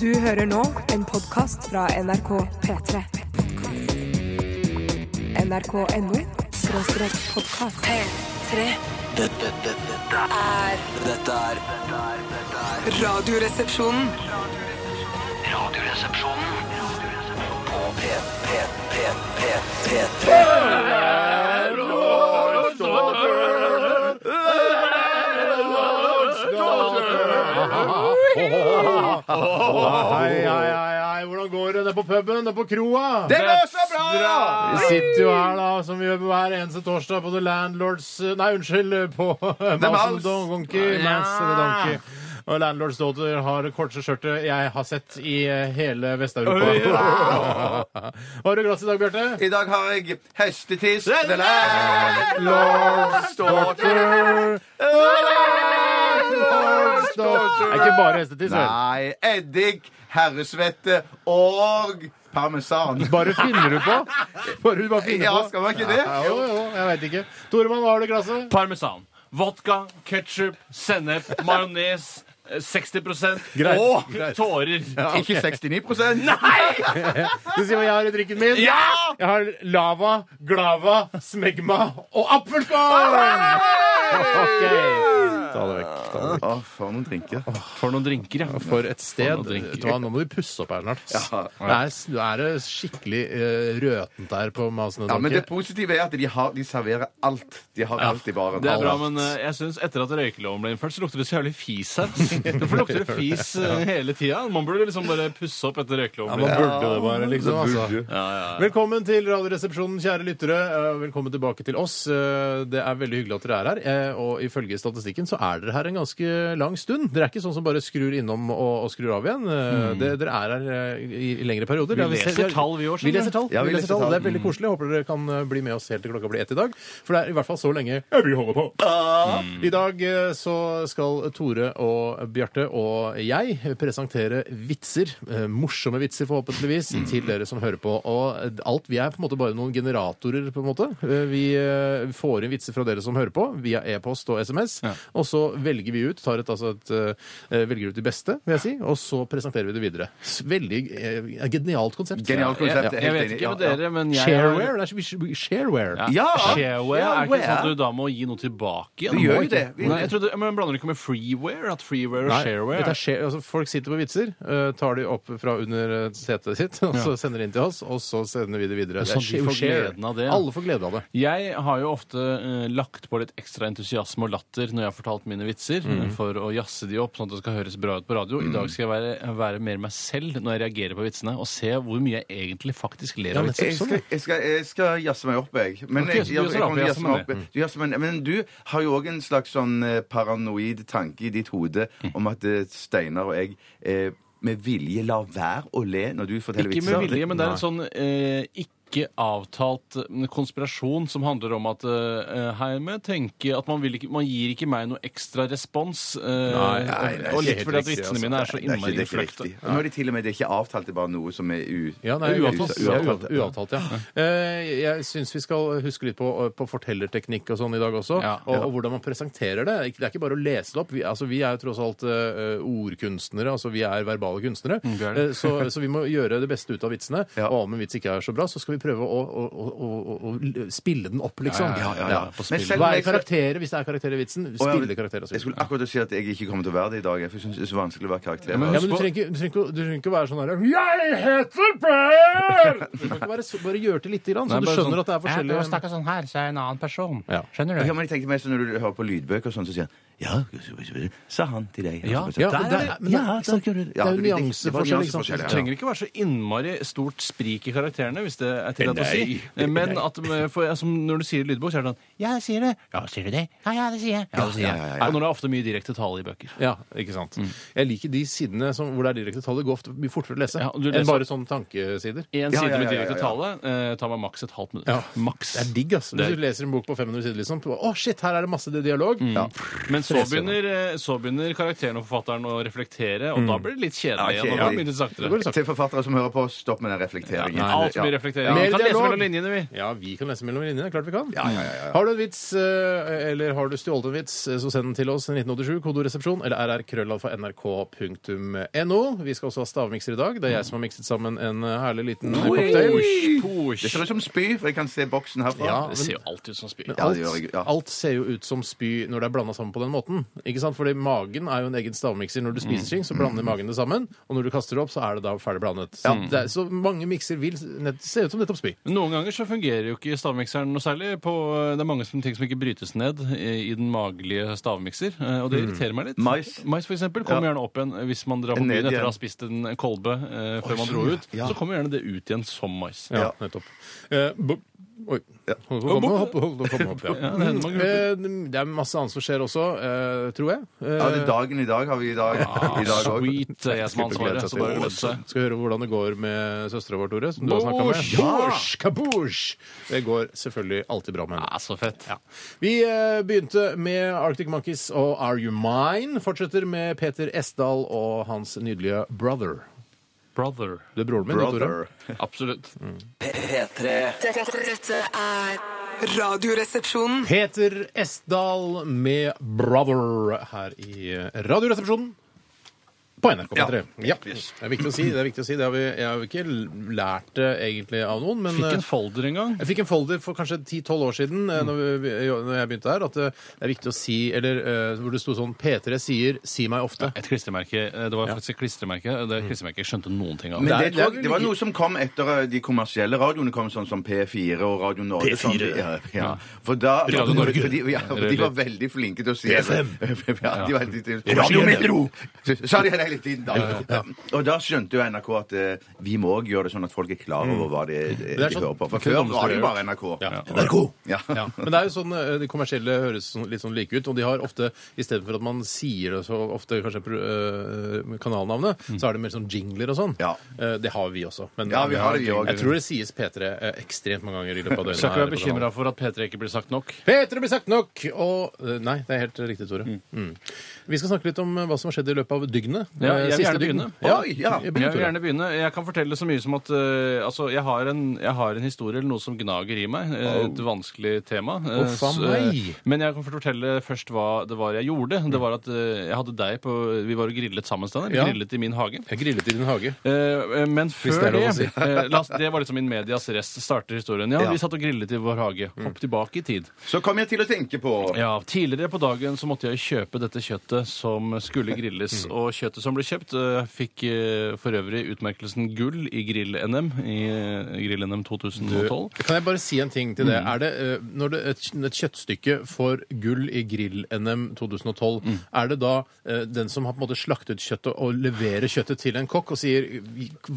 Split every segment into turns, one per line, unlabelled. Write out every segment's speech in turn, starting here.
Du hører nå en podkast fra NRK P3. NRK.no skråstrek podkast. P3.
Dette, dette, dette
er
dette er dette er- dette er
Radioresepsjonen.
Radioresepsjonen på P, P, P, P, P3.
Hei, hei, hei, hei, hvordan går det nede på puben, nede på kroa?
Det går så bra!
Vi sitter jo her, da, som vi gjør hver eneste torsdag, på The Landlords eh, Nei, unnskyld, på Mouse and
Mouse.
Don- Donkey.
Ja.
Mouse and Donkey. Og Landlords Daughter har det korteste skjørtet jeg har sett i eh, hele Vest-Europa. Hva har du glass i dag, Bjarte?
I dag har jeg hestetiss. Den er
Landlords Daughter. Landlords Daughter. Det er ikke bare hestetiss, vel?
Nei. Eddik, herresvette og parmesan.
Bare finner du på? Bare, bare finner
Ja,
på.
skal man ikke det?
Ja, jo, jo, jeg veit ikke. Toremann, hva har du i glasset?
Parmesan. Vodka, ketsjup, sennep, majones, eh, 60
Greit,
og
greit.
tårer.
Ikke 69
Nei!
Du sier hva jeg har i drikken min?
Ja!
Jeg har lava, glava, smegma og appelkorn! Ok. Ta det vekk. ta det vekk.
Å, for noen drinker.
For noen drinker, ja.
For et sted.
For noe drinker.
Vet du hva, Nå må du pusse opp her snart.
Ja.
Det er, det er det skikkelig eh, røtent der på Masen og
Ja, men
Donkey.
det positive er at de, har, de serverer alt. De har alt i baren.
Det er bra,
Alt.
men eh, jeg synes etter at røykeloven ble innført, så lukter det så jævlig fis her. Hvorfor lukter det fis eh, hele tida? Man burde liksom bare pusse opp etter
Ja,
røykeloven.
man burde det bare, liksom. Altså.
Ja, ja, ja.
Velkommen til Radioresepsjonen, kjære lyttere. Eh, Velkommen tilbake til oss. Eh, Det er veldig hyggelig at dere er her. eh, Og ifølge statistikken så er dere her en ganske lang stund. Dere er ikke sånn som bare skrur innom og, og skrur av igjen. Eh, Det, dere er her eh, i, i lengre perioder. Det har
leser
sett- det har-
tall, vi også,
Vi
skjønner du.
leser tall.
Ja,
vi
vi
leser
leser
tall.
tall.
Det er veldig koselig. Håper dere kan eh, bli med oss helt til klokka blir ett i dag. For det er i hvert fall så lenge eh, vi holder på. I dag eh, så skal Tore og Bjarte og jeg presentere vitser, eh, morsomme vitser forhåpentligvis,
Mm.
til dere som hører på. Og alt, vi er på en måte bare noen generatorer, på en måte. Eh, Vi eh, får inn vitser fra dere som hører på, via e-post og SMS. Og så velger vi ut, tar et, altså et, eh, velger ut de beste, vil jeg si, og så presenterer vi det videre. S- Veldig eh, genialt konsept.
Genialt
Jeg,
konsept.
jeg vet ikke med dere, men jeg har-
Shareware? Det er så mye shareware.
Ja.
Shareware,
Ja,
er ikke sånn at
where?
du da må gi noe tilbake? igjen?
Du
Må
gjør jo
ikke.
det. Vi-
Nei, jeg trodde, men Blander du ikke med freeware? At freeware og
Nei,
shareware
dette er share, altså folk sitter på vitser, eh, tar de opp fra under eh, setet sitt, og så sender de inn til oss, og så sender vi det videre.
Sånn at vi får
share.
gleden av det, ja.
Alle får glede av det.
Jeg har jo ofte eh, lagt på litt ekstra entusiasme og latter når jeg har fortalt mine vitser, eh, for å jazze de opp sånn at det skal høres bra ut på radio. I dag skal jeg være, være mer meg selv når jeg reagerer på vitsene, og se hvor mye jeg egentlig faktisk ler
Ja,
av
men-
vitser.
Jeg skal, jeg, skal, jeg skal jazze meg opp, jeg. Men,
Ok,
jeg,
så du
jeg,
jazzer
jeg
opp,
kommer til å jazze
jazzer
meg opp. Du jazzer meg- men du har jo òg en slags sånn eh, paranoid tanke i ditt hode
Mm.
om at eh, Steinar og jeg eh, med vilje lar være å le når du forteller
Ikke
vitser.
med vilje, men det er en
Nei.
sånn eh, ikke avtalt eh, konspirasjon som handler om at eh, hei, må jeg tenke at man, vil ikke, man gir ikke meg noe ekstra respons. eh,
nei, det er
og litt
helt
fordi at
riktig,
vitsene
altså.
mine er så
Det er ikke,
innmari
det er ikke
fløkte.
riktig. Nå er det til og med det er ikke avtalt, det er bare noe som er u...
Ja, nei,
u-
uavtalt.
u-
Ja, uavtalt, uavtalt, ja. Eh, Jeg syns vi skal huske litt på, eh, på fortellerteknikk og sånn i dag også,
Ja.
og, og hvordan man presenterer det. Det er ikke bare å lese det opp. Vi, altså, vi er jo tross alt eh, ordkunstnere, altså vi er verbale kunstnere,
Mm,
det er det.
Eh, så, så vi må gjøre det beste ut av vitsene.
Ja.
Og om en vits ikke er så bra, så skal vi prøve å, å, å, å, å spille den opp, liksom.
Ja, ja, ja.
på
Men
spill.
selv om
Hva er
jeg skal-
karakterer, hvis det er karakter i vitsen?
Å, ja, men-
Spille karakterer
altså.
og så
Jeg
videre.
skulle akkurat si at jeg ikke kommer til å være det i dag. For jeg synes det er så vanskelig å være karakter.
men-
Ja, men du trenger, ikke- du, trenger ikke, å- du trenger ikke å være sånn her Jeg heter Per! Du kan ikke være så, bare gjør til lite grann, så
Nei,
du
bare
skjønner
sånn,
at det er forskjellig.
sånn her, så er jeg en annen person.
Ja.
Skjønner
Ja, men jeg tenkte mer sånn Når du hører på lydbøker, og sånn, så sier han ja, sa han til deg.
Ja,
Og så-
Ja,
Der er
men det,
det-
men det,
ja,
det,
snakker du-
det er jo
ja, det var
nyanseforskjell. ikke sant?
Det
nyanseforskjell, ja.
trenger ikke være så innmari stort sprik i karakterene, hvis det er tillatt å si. Eh, Men at, for, jeg- som når du sier lydbok, så er det sånn Ja, jeg sier det. Ja, sier du det? Ja, ja, det sier jeg. Ja, det sier jeg.
ja, ja, ja.
Og når det er ofte mye direkte tale i bøker.
Ja, ikke sant. Jeg liker de sidene som, hvor det er direkte tall. Det går ofte mye fortere å lese
Ja, og du
enn
leser-
bare sånne tankesider.
Én
Ja,
side
ja,
med
ja, ja,
direkte
ja.
tale eh, tar meg maks et halvt minutt.
Ja.
Maks.
Det er digg, ass.
Det er-
Hvis du leser en bok på 500 sider, liksom. Å, shit, her er det masse dialog.
Mens så begynner, eh, så begynner karakteren og forfatteren å reflektere, og da blir det litt kjedelig
Ja,
igjen. og da blir det
Det går
saktere.
litt sakte.
Til forfattere som hører på, stopp med den reflekteringen.
Ja,
Alt blir
Ja.
reflektering. Vi kan
Mer
lese
dialog.
mellom linjene, vi.
Ja, vi kan lese mellom linjene. Klart vi kan. Har du en vits, eh, eller har du stjålet en vits, eh, så send den til oss. 1987, kodoresepsjon, eller rrkrøllalfa.nrk.no. Vi skal også ha stavmikser i dag. Det er jeg som har mikset sammen en eh, herlig liten eh, cocktail.
Det ser ut som spy, for jeg kan se boksen herfra.
Ja,
Det ser jo alltid ut som spy.
Ja, det gjør jeg,
Alt,
ja.
alt ser jo ut som spy når det er blanda sammen på den måten. Ikke sant? Fordi magen er jo en egen stavmikser. Når du spiser
Mm.
ting, så blander magen det sammen. Og når du kaster det opp, så er det da ferdig blandet. Det er, så mange mikser vil nett, se ut som nettopp spy.
Men Noen ganger så fungerer jo ikke stavmikseren noe særlig. På, det er mange som, ting som ikke brytes ned i i den magelige stavmikser, eh, og det irriterer meg litt.
Mais.
Mais for eksempel, kommer
Ja.
gjerne opp igjen hvis man drar på
Ned
byen etter å
igjen.
ha spist en kolbe eh, før man dro ut. Så kommer gjerne det ut igjen som mais.
Ja, nettopp. Eh, bo- Oi. Hold på å komme opp. Hold på å komme opp ja.
Ja, det hender man glemmer.
Eh, det er masse annet som skjer også, eh, tror jeg. Eh,
Ja, det er dagen i dag har vi i dag. I dag også.
Sweet, det er jeg som har ansvaret. Så bare gleder seg.
Skal vi høre hvordan det går med søstera vår, Tore? Som du har snakka med.
Bosh!
Bosh, kaboosh! Det går selvfølgelig alltid bra med henne.
Ja, Ah, så fett.
Vi eh, begynte med Arctic Monkeys og Are You Mine? Fortsetter med Peter Esdal og hans nydelige Brother.
Brother.
Det er broren min, det, Tore.
Brother.
Absolutt.
P3
Dette, dette er Radioresepsjonen.
Peter Esdal med Brother her i Radioresepsjonen. På NRK P3. Ja. Det er viktig å si. Det er viktig å si. Det har vi, jeg har jo ikke lært det egentlig av noen, men
Fikk
eh,
en Mm. folder en gang.
Jeg fikk en folder for kanskje 10-12 år siden eh, når, vi, når jeg begynte her, at eh, det er viktig å si Eller eh, hvor det sto sånn P3 sier 'si meg ofte'.
Et klistremerke. eh, Det var faktisk et klistremerke. Det klistremerket jeg skjønte noen ting av.
Men
Der
det,
tror
det,
jeg
det var
vi-
noe som kom etter eh, de kommersielle radioene kom, sånn som P4 og Radio Norge. Sånn, ja, ja. For da
Radio Norge.
For de, ja, for de var veldig flinke til å si
P5.
Ja, de var veldig til-
Radio Metro.
Sa de det hele tiden, da. Og da skjønte jo NRK at eh, vi må òg gjøre det sånn at folk er klar over hva de, de,
er sånn-
hører på.
det
For
er
før
sånn
var
det
det jo bare NRK.
Ja.
NRK! Ja.
Ja, Men det er jo sånn, eh, de kommersielle høres sånn- litt sånn like ut, og de har ofte, istedenfor at man sier det så ofte, kanskje pro- eh, kanalnavnet, så er det mer sånn jingler og sånn.
Ja.
Eh, Det har vi også. Men
Ja, vi har det, vi
jeg
også.
tror det sies P3 eh, ekstremt mange ganger i løpet av døgnet.
Skal ikke
her
være
på kanalen.
bekymra for at P3 ikke blir sagt nok.
P3 blir sagt nok, og eh, Nei, det er helt riktig, Tore. Mm. Vi skal snakke litt om eh, hva som har skjedd i løpet av dygnet.
Ja,
Eh,
jeg vil
siste
gjerne
dygn.
begynne.
Ja,
Oi, ja.
jeg
Jeg
begynner,
vil
Tore.
gjerne begynne. Jeg kan fortelle så mye som at eh, altså, jeg, har en, jeg har en historie eller noe som gnager i meg. eh, Et vanskelig tema. eh,
Uff, a
så,
meg.
eh, men jeg kan fortelle først hva det var jeg gjorde. Det var at eh, jeg hadde deg på Vi var og grillet sammen, Steinar. Vi
Ja.
grillet i min hage.
Jeg grillet i din hage.
Eh, eh, men
det er
før det,
lov å si.
eh, la oss- det var liksom min medias rest, starter historien. Ja,
Ja.
Vi satt og grillet i vår hage.
Mm.
Hopp tilbake i tid.
Så kom jeg til å tenke på
Ja, Tidligere på dagen så måtte jeg kjøpe dette kjøttet som skulle grilles. Og kjøttet som ble kjøpt, eh, fikk eh, for øvrig utmerkelsen gull i Grill-NM i eh, Grill-NM 2012.
Kan jeg bare si en ting til det?
Mm.
Er det eh, når det, et, et kjøttstykke får gull i Grill-NM 2012,
Mm.
er det da eh, den som har på en måte slaktet kjøttet og leverer kjøttet til en kokk og sier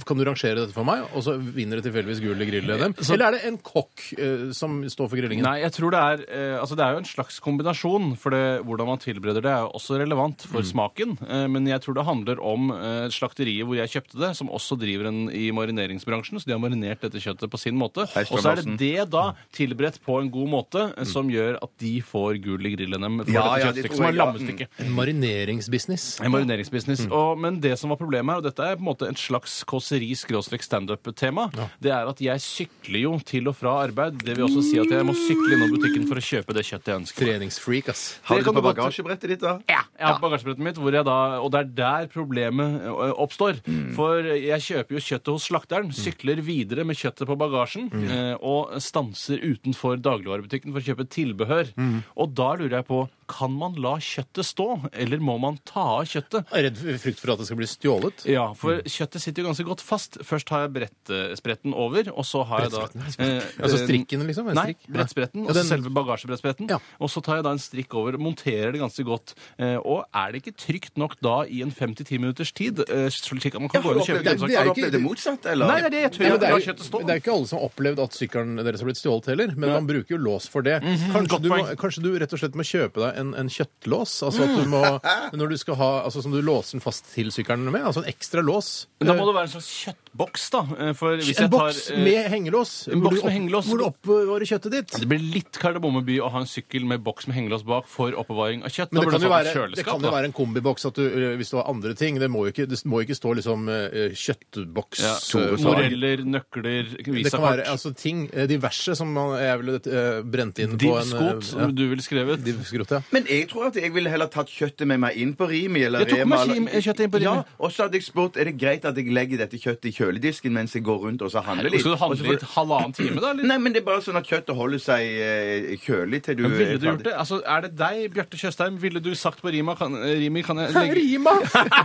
kan du rangere dette for meg, og så vinner det tilfeldigvis gull i Grill-NM?
Eh, Så-
Eller er det en kokk eh, som står for grillingen?
Nei, jeg tror det er eh, Altså, det er jo en slags kombinasjon, for det, hvordan man tilbereder det, er jo også relevant
Mm.
for smaken. Eh, men jeg tror det handler om eh, slakteriet hvor jeg kjøpte det, som også driver en i marineringsbransjen, så de har marinert dette kjøttet på sin måte.
Hei, Mm.
Og så er det
Strømmen.
det da, tilberedt på en god måte, eh, som gjør at de får gull i grillen eh, for
Mm. Ja,
dette
ja, det
kjøttstykket,
tror
som
jeg,
er
ja. Mm.
lammestykket.
En marineringsbusiness?
En marineringsbusiness. Og, men det som var problemet her, og dette er på en måte en slags kåseri-standup-tema, det er at jeg sykler jo til og fra arbeid. Det vil også si at jeg må sykle innom butikken for å kjøpe det kjøttet jeg ønsker.
Treningsfreak, ass.
Har
Det
du det
kan
på
du godt-
bagasjebrettet ditt, da?
Ja, jeg har bagasjebrettet mitt, hvor jeg da, og det er der problemet ø, oppstår. For jeg kjøper jo kjøttet hos slakteren, sykler videre med kjøttet på bagasjen, eh, og stanser utenfor dagligvarebutikken for å kjøpe tilbehør. Og da lurer jeg på, kan man la kjøttet stå, eller må man ta av kjøttet?
Jeg er redd for- frykt for at det skal bli stjålet.
Ja, for
Mm.
kjøttet sitter jo ganske godt fast. Først har jeg brettspretten over, og så har jeg da eh,
Altså strikken, liksom? En
Nei,
strikk?
brettspretten,
Ja,
og så
den-
selve bagasjebrettspretten.
Ja.
Og så tar jeg da en strikk over, monterer det ganske godt. Eh, og er det ikke trygt nok da i en 5-10 minutters tid, eh, slik at man kan
Har
gå
du
inn og kjøpe
opplevd det,
det?
det er
har
jo
du
ikke-
opplevd det motsatt, eller?
sånn Nei, det er det, jeg tør
Ja,
jo
men det,
ikke
er,
la
jo-
kjøttet stå.
det er jo ikke alle som har opplevd at sykkelen deres har blitt stjålet heller, men man bruker jo lås for det. Kanskje,
Mhm. godt
du må,
poeng.
kanskje du rett og slett må kjøpe deg en, en kjøttlås. Altså at du må,
Mhm.
når du skal ha, altså som du låser den fast til sykkelen med. Altså en ekstra lås.
Men Da må det være en slags kjøttboks, da. eh, For hvis
en
jeg tar,
boks
eh,
med hengelås.
en
hvor
boks med
du opp-
hengelås.
Hvor du oppbevarer kjøttet ditt.
Det blir litt Kardemommeby å ha en sykkel med boks med hengelås bak for oppbevaring av kjøtt. da
Men det
burde det
kan, jo
stått
være,
et
det kan
kjøleskap,
jo
da.
være en kombiboks at du, ø, hvis du har andre ting. Det må jo ikke, det må jo ikke stå liksom ø, kjøttboks
Ja.
ø,
Moreller, nøkler,
Det kan
visakort,
være altså, ting, ø, diverse, som man, jeg ville ø, brent inn på en ø,
divskot,
ja.
som du ville skrevet.
Divskrot, ja.
Men jeg tror at jeg ville heller tatt kjøttet med meg inn på Rimi. Eller
Jeg tok med
eller-
skim- kjøttet inn på Rimi.
Ja, og så hadde jeg spurt er det greit at jeg legger dette kjøttet i kjøledisken mens jeg går rundt og så handler litt.
Skal du
Og så
handle
får
i et halvannen time, da? Eller?
Nei, men det er bare sånn at kjøttet holder seg eh, kjølig til du
Men Ville
er
du gjort
ferdig.
det? Altså, er det deg, Bjarte Tjøstheim? Ville du sagt på Rima kan, eh, Rimi, kan jeg legge,
Rima!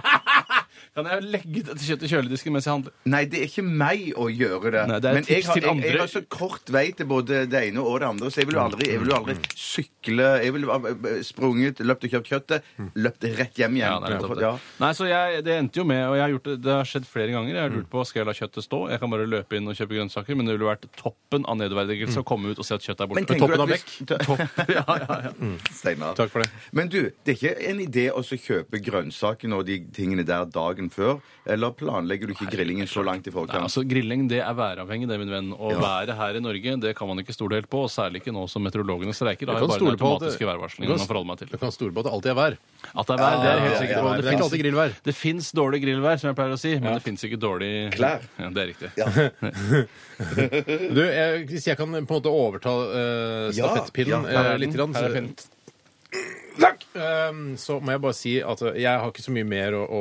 kan jeg legge dette kjøttet i kjøledisken mens jeg handler?
Nei, det er ikke meg å gjøre det.
Nei, det er et
men jeg
tips
har,
til
jeg, jeg
andre. Mm.
har så kort vei til både det ene og det andre, så jeg vil jo aldri, jeg vil jo aldri sykle Jeg ville eh, sprunget, løpt og kjøpt kjøttet, løpt rett hjem
Mm. Ja,
igjen.
det er nettopp det.
Ja.
Nei, så jeg, det endte jo med, og jeg har gjort det, det har skjedd flere ganger. Jeg har lurt på skal jeg la kjøttet stå. Jeg kan bare løpe inn og kjøpe grønnsaker, men det ville vært toppen av nedverdigelse å komme ut og se at kjøttet er borte.
Men tenker
toppen
du
av
at hvis-
ja, ja, ja.
Steinar.
Takk for det.
Men du, det er ikke en idé å så kjøpe grønnsakene og de tingene der dagen før? Eller planlegger du ikke grillingen så langt i
Nei,
forkant?
altså Grilling det er væravhengig, det, min venn. Og været her i Norge det kan man ikke stole helt på. Og særlig ikke nå som meteorologene streiker. Da
Du
har
kan
jeg bare
stole
den
på at-
automatiske
du
værvarslingen
kan-
å forholde meg til.
Du kan stole på at det alltid er vær.
At det er vær, det er jeg helt
ja,
sikkert
ja,
på.
ja.
Det er ikke alltid grillvær.
Det fins dårlig grillvær, som jeg pleier å si, men det fins ikke dårlig
Klær.
Ja, det er riktig.
Du, jeg, hvis jeg kan på en måte overta ø,
Ja,
stafettpinnen
ja, her er
ø, litt, grann,
Her er
så-
pinnen.
Ehm, så må jeg bare si at eh, jeg har ikke så mye mer å, å,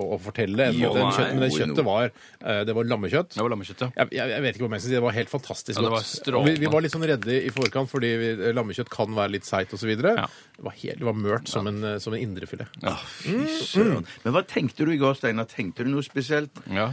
å, å fortelle enn
Jo,
den
nei.
kjøttet, men det
Jo,
kjøttet var, eh, det var lammekjøtt.
Det var lammekjøtt, ja.
Jeg, jeg, jeg vet ikke hva jeg skal si, Det var helt
Ja,
fantastisk
det var
godt.
strålende.
vi, vi var litt sånn redde i forkant fordi vi, lammekjøtt kan være litt seigt osv.
Ja.
Det var, helt- det var mørt som en, eh, som en indrefilet.
Ah, fy søren. Mm. Men hva tenkte du i går, Steinar? Tenkte du noe spesielt?
ja.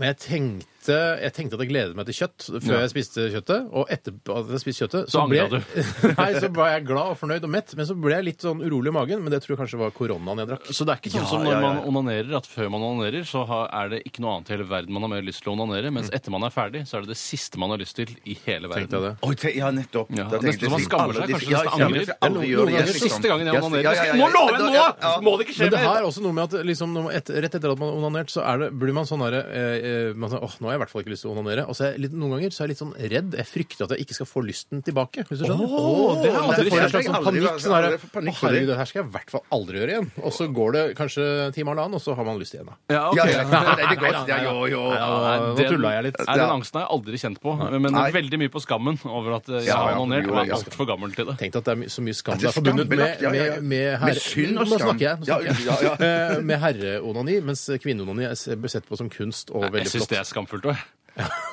Men jeg tenkte, jeg tenkte at jeg gledet meg til kjøtt før
Ja.
jeg spiste kjøttet. Og etter at jeg spiste kjøttet,
Så
ble
angret
jeg- Nei, så var jeg glad og fornøyd og mett, men så ble jeg litt sånn urolig i magen. Men det tror jeg kanskje var koronaen jeg drakk.
Så det er ikke sånn
Ja,
som når
ja, ja, ja.
man onanerer, at før man onanerer, så har, er det ikke noe annet i hele verden man har mer lyst til å onanere, mens etter man er ferdig, så er det det siste man har lyst til i hele
Tenkte jeg
verden.
det.
Oi, te ja, nettopp.
Ja,
Da tenkte
nesten
jeg
man
sikkert
skammer
alle
seg,
disse-
kanskje
Ja,
nesten
ja,
angrer.
jeg skal aldri
Ja,
gjøre
Det er
noen
det.
ganger
jeg skal
siste gangen jeg
ja,
onanerer.
ja,
Jeg
ja,
skal-
ja,
Må
ja,
love nå!
ja,
da!
ja.
Må det ikke skje
Men det
mer?
her er også noe med at liksom, når man et, rett etter at man har onanert, så er det, blir man sånn derre eh, eh, man sånn, åh, nå har jeg i hvert fall ikke lyst til å onanere. Og så er jeg litt, noen ganger så er jeg litt sånn redd. Jeg frykter at jeg ikke skal få lysten tilbake. Hvis du skjønner?
Åh, det har jeg
At jeg får en
aldri
slags
skjønt. Jeg har
sånn
aldri-
panikk. Sånn
aldri
derre,
fått
å
panikk for det.
herregud, det her skal jeg i hvert fall aldri gjøre igjen. Og så går det kanskje en time eller annen, og så har man lyst igjen. da.
Ja, ok.
Ja, ja, ja, det er godt. Ja, jo, jo.
Ja, nå
den-
tullet jeg litt.
Nei, Den angsten har jeg aldri kjent på, men
Nei.
veldig mye på skammen over at eh, jeg
Ja,
har
ja,
onanert.
jo,
og er
ja.
altfor gammel til det.
Tenk deg at det er my- så mye skam
At
det
det
er forbundet med,
skambelagt, ja, ja, ja.
med, med, herre...
Med synd og
Nå
skam.
snakker jeg. Nå
Ja,
snakker jeg.
ja,
Eh, med herreonani, mens kvinneonani er s- sett på som kunst og
Jeg
veldig
syns
flott.
det er skamfullt òg.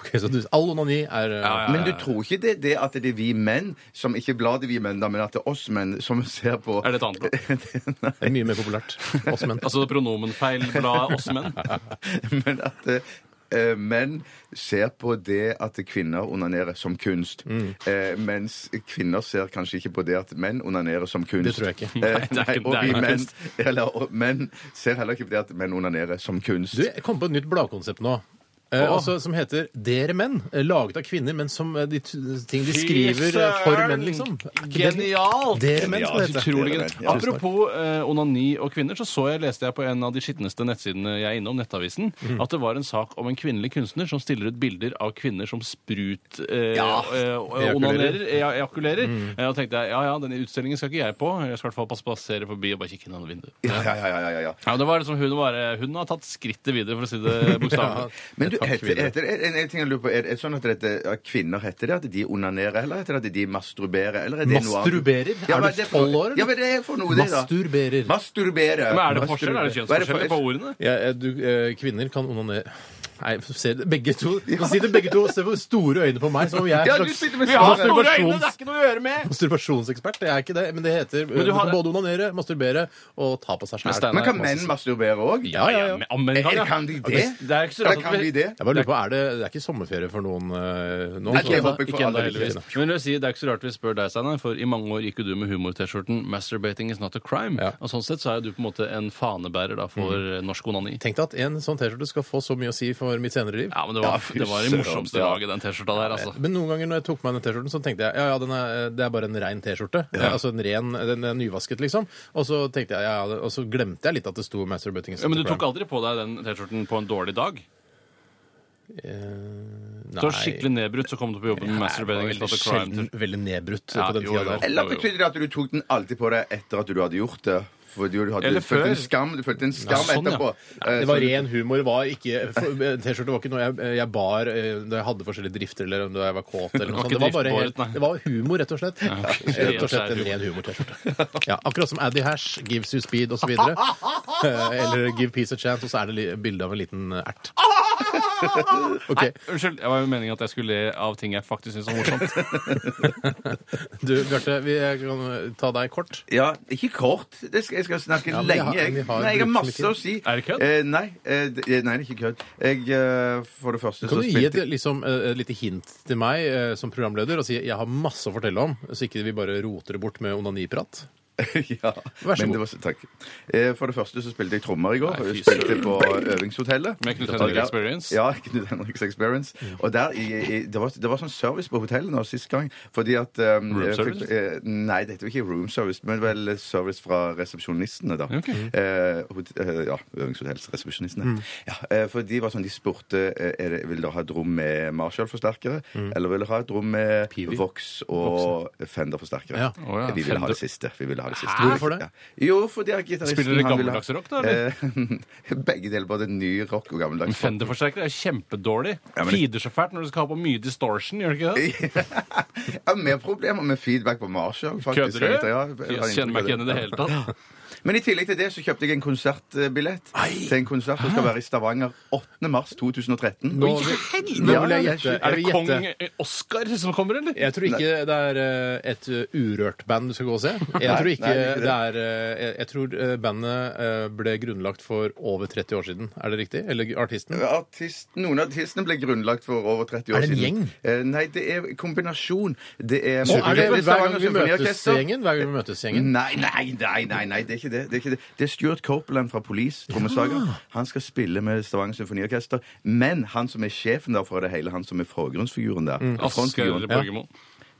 Ok, så du, all onani er eh,
Ja, ja.
Men du tror ikke det, er det at det er vi menn som ikke bladet vi menn, da, men at det er oss menn som ser på
Er det et annet blad?
Det er mye mer populært. Oss menn.
Altså pronomenfeil blad oss menn?
Men at eh, menn ser på det at kvinner onanerer som kunst.
Mm.
Eh, mens kvinner ser kanskje ikke på det at menn onanerer som kunst.
Det tror jeg ikke.
Eh,
Nei, det er ikke-
og
det er
vi
ikke
menn,
kunst.
eller, og menn ser heller ikke på det at menn onanerer som kunst.
Du, jeg kom på et nytt bladkonsept nå. Eh,
Åh.
altså, som heter 'Dere menn'. eh, Laget av kvinner, men som eh, de t ting de
Fy
skriver eh, for menn, liksom. Er ikke det-
Genialt!
Dere menn, skal det
Ja,
hete.
utrolig
Dere
genialt.
menn, ja.
Apropos eh, onani og kvinner, så så jeg, leste jeg på en av de skitneste nettsidene jeg er innom, Nettavisen,
Mhm.
at det var en sak om en kvinnelig kunstner som stiller ut bilder av kvinner som sprut eh,
Ja, Mhm.
eh, onanerer,
ejakulerer.
ja, ejakulerer. Eh, og tenkte jeg, ja ja, denne utstillingen skal ikke jeg på. Jeg skal i hvert fall passe- passere forbi og bare kikke inn gjennom vinduet.
Ja, ja, ja, ja, ja, ja.
Ja, det var liksom hun, var, hun har tatt skrittet videre, for å si det bokstavelig.
Men du,
Takk
heter,
videre.
heter, en, en ting jeg lurer på, er det sånn at dette, at kvinner heter det at de onanerer, eller heter det at de masturberer? Eller er det noe annet?
Masturberer?
Ja,
Er
hva
du
det for noe?
12 år?
Ja, men det er for noe, det, da.
Masturberer.
Masturberer.
Men er det forskjell? Er det
Masturberer. Hva er det for-
kjønnsforskjell på ordene?
Ja, eh, du, eh, kvinner kan onanere Nei, se, det- begge to Nå sitter begge to og ser på store øyne på meg som om jeg er
Ja,
en
du
slags
sitter med
Vi har store øyne, det
masturbasjons-
er ikke noe å gjøre med!
masturbasjonsekspert. Jeg er ikke det, men det heter eh,
Men du
du
har-
kan både onanere, masturbere og ta på seg
Men Steinar-
sjæl.
Men kan menn masturbere òg?
Ja, ja, ja.
men- men
Er-
ja.
Kan de det?
Det er ikke så
Eller
rart
kan
at vi-
de det?
Jeg bare lurer på, er det, det er ikke sommerferie for noen
Ikke
eh, nå? så-
Nei, Jeg
ennå,
håper
ikke
ikke for
ennå,
alle
heldigvis.
lykkene.
Men jeg vil si, Det er ikke så rart vi spør deg, Steinar, for i mange år gikk jo du med humor-T-skjorten 'Masturbating is not a crime'.
Ja.
Og
Mm.
Sånn sett så er jo du på en måte en fanebærer da for eh, norsk onani.
Tenk deg at en sånn T-skjorte skal få så mye å si for år i mitt senere liv.
Ja, men det var,
Ja, fy
det var det
søren.
morsomste laget, den T-skjorta der, altså.
Men noen ganger når jeg tok meg den T-skjorten, så tenkte jeg ja, ja, den er, det er bare en rein T-skjorte. Eh, Altså en ren, den er nyvasket, liksom. Og så tenkte jeg, ja, ja, det- og så glemte jeg litt at det sto 'Masturbating is
Ja, men du
not a
tok
crime'.
aldri på deg den T-skjorten på en dårlig dag?
Eh,
Du var
nei.
skikkelig nedbrutt, så kom du på jobb med masturbating.
Veldig
Veldig
sjelden, veldig nedbrutt
Ja,
på den
jo,
tida
jo.
der.
Eller betydde det at du tok den alltid på deg etter at du hadde gjort det? For du hadde
Eller
du følte
før.
en skam, du følte en skam
sånn, ja.
etterpå. Eh,
Det var
så du-
ren humor. det var ikke for- T-skjorte var ikke noe jeg, jeg bar eh, da jeg hadde forskjellige drifter eller om da jeg var kåt. Eller
Det var
noe sånt.
ikke
Det var bare helt,
driftbåret, nei.
det var humor, rett og slett. Rett og slett en
Ren
ren humor-T-skjorte. Ja, akkurat som Addy Hash, Gives You Speed osv. Eh, Eller Give Peace a Chance, og så er det li- bilde av en liten ert. Ok,
Unnskyld, jeg var jo meningen at jeg skulle le av ting jeg faktisk syns var morsomt.
du Bjarte, vi kan eh, ta deg kort.
Ja, ikke kort. Det skal, jeg skal snakke
Ja, men jeg
lenge,
har-
jeg.
vi har
Nei, jeg har
brukt
masse
litt
å si.
Er det kødd?
Eh, nei, eh, det- nei, det er ikke kødd. Jeg, eh, for det første
Kan
så
du gi et liksom, eh, lite hint til meg eh, som programleder og si jeg har masse å fortelle om, så ikke vi bare roter det bort med onaniprat?
ja,
Vær så
men
god.
det var, takk. Eh, for det første så spilte jeg trommer i går.
Nei, fy
jeg spilte på Øvingshotellet.
Med Knut
Og
Henrik
der-
Experience?
Ja, Knut Henriks Experience. Og der, i, i, det, var, det var sånn service på hotellet nå sist gang. Fordi at um,
Room
jeg fikk-
service?
eh, Nei, det heter jo ikke room service, men vel service fra resepsjonistene, da.
Ok. Mm.
Eh, hot- eh, ja, øvingshotellsresepsjonistene. Ja, eh, for de var sånn, de spurte eh, er det, vil dere ha et rom med Marshall-forsterkere,
Mm.
eller vil dere ha et rom med
Pivi?
Vox og Fender-forsterkere. Eh,
Ja.
Å ja,
Vi ville
Fender.
ha det siste. Vi ville ha det siste.
Hæ? Hvorfor det?
Ja. Jo, fordi at gitaristen
Spiller dere
han ville ha-
gammeldags rock, da, eller?
Eh, Begge deler. Både ny rock og gammeldags rock.
Fender-forsterker er kjempedårlig.
Ja, men-
Feeder så fælt når du skal ha på mye distortion, gjør det ikke det?
Jeg har mer problemer med feedback på Marshall.
Kødder
faktisk.
du?
Ja, jeg- jeg har
Jeg kjenner meg ikke igjen i det
inntrykk av
hele tatt.
Men i tillegg til det så kjøpte jeg en konsertbillett til en konsert som skal være i Stavanger 8. mars 2013.
Nå,
Oi,
nå vil jeg
Ja,
gjette.
Er
Jeg
det
vil
kong eh,
gjette.
Oscar som kommer, eller?
Jeg tror ikke det er eh, et eh, urørt band du skal gå og se. Jeg tror ikke
nei, det er ikke
det er eh, Jeg tror eh, bandet eh, ble grunnlagt for over 30 år siden. Er det riktig? Eller artisten?
Artist, noen av artistene ble grunnlagt for over 30 år
Er
siden.
det en gjeng?
Eh, nei, det er kombinasjon. Det er,
Og er det hver gang
Stavanger
vi møtes
Symfoniorkester.
gjengen? Hver gang vi møtes gjengen?
Nei, nei, nei, nei, nei, det er ikke det. Det er, ikke det. Det er Stuart Copeland fra Police, trommeslager. Han skal spille med Stavanger Symfoniorkester. Men han som er sjefen der for det hele, han som er forgrunnsfiguren der,
Mm.
Asgeir
frontfiguren,
Borgermoen.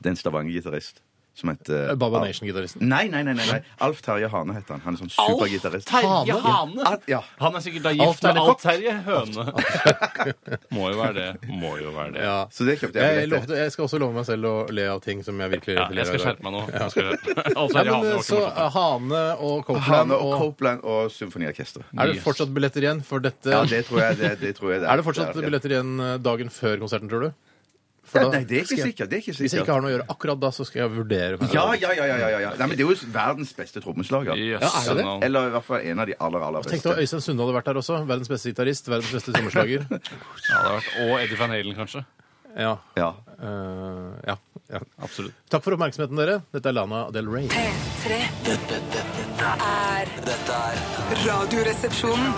det er en Stavanger-gitarrist som heter
Baba
Al-
Eh, Nation-gitaristen.
Nei, nei, nei, nei, nei. Alf Terje Hane heter han. Han er sånn supergitarrist.
Terje Hane!
Al- ja.
Han er sikkert da
Alf
gift med
Terje Kopp.
Alf Terje Høne. Må jo være det. Må jo være det.
Ja.
Så det kjøpte jeg
Jeg,
billett til.
lovte, jeg skal også love meg selv å le av ting som jeg virkelig
Ja,
ler
jeg skal
av.
skjerpe meg nå. Jeg skal skjerpe meg. Alf
Nei,
Terje Hane
men,
var ikke
så
morsomt.
Hane og Copeland
Hane og
og
Copeland og Symfoniorkester.
Er det fortsatt billetter igjen for dette?
Ja, det tror jeg det, det, tror jeg det
Er det fortsatt
Ja, ja.
billetter igjen eh, dagen før konserten, tror du? For
Ja,
da
nei, det er
skal
ikke
jeg-
sikkert. Det er ikke
Hvis jeg
sikkert.
ikke har noe å gjøre akkurat da, så skal jeg vurdere.
Ja, ja, ja. ja, ja, ja. Nei, men det er jo verdens beste trommeslager.
Yes,
Ja, er det det?
navn.
Eller i hvert fall en av de aller, aller
Tenk deg
beste.
Øystein Sunde hadde vært der også. Verdens beste gitarist, verdens beste trommeslager.
Ja, det har vært. Og Eddie Van Halen, kanskje.
Ja.
Ja.
eh, ja. ja.
Absolutt.
Takk for oppmerksomheten, dere. Dette er Lana Del Rey.
P3
Dette, dette, dette,
er
dette er
Radioresepsjonen.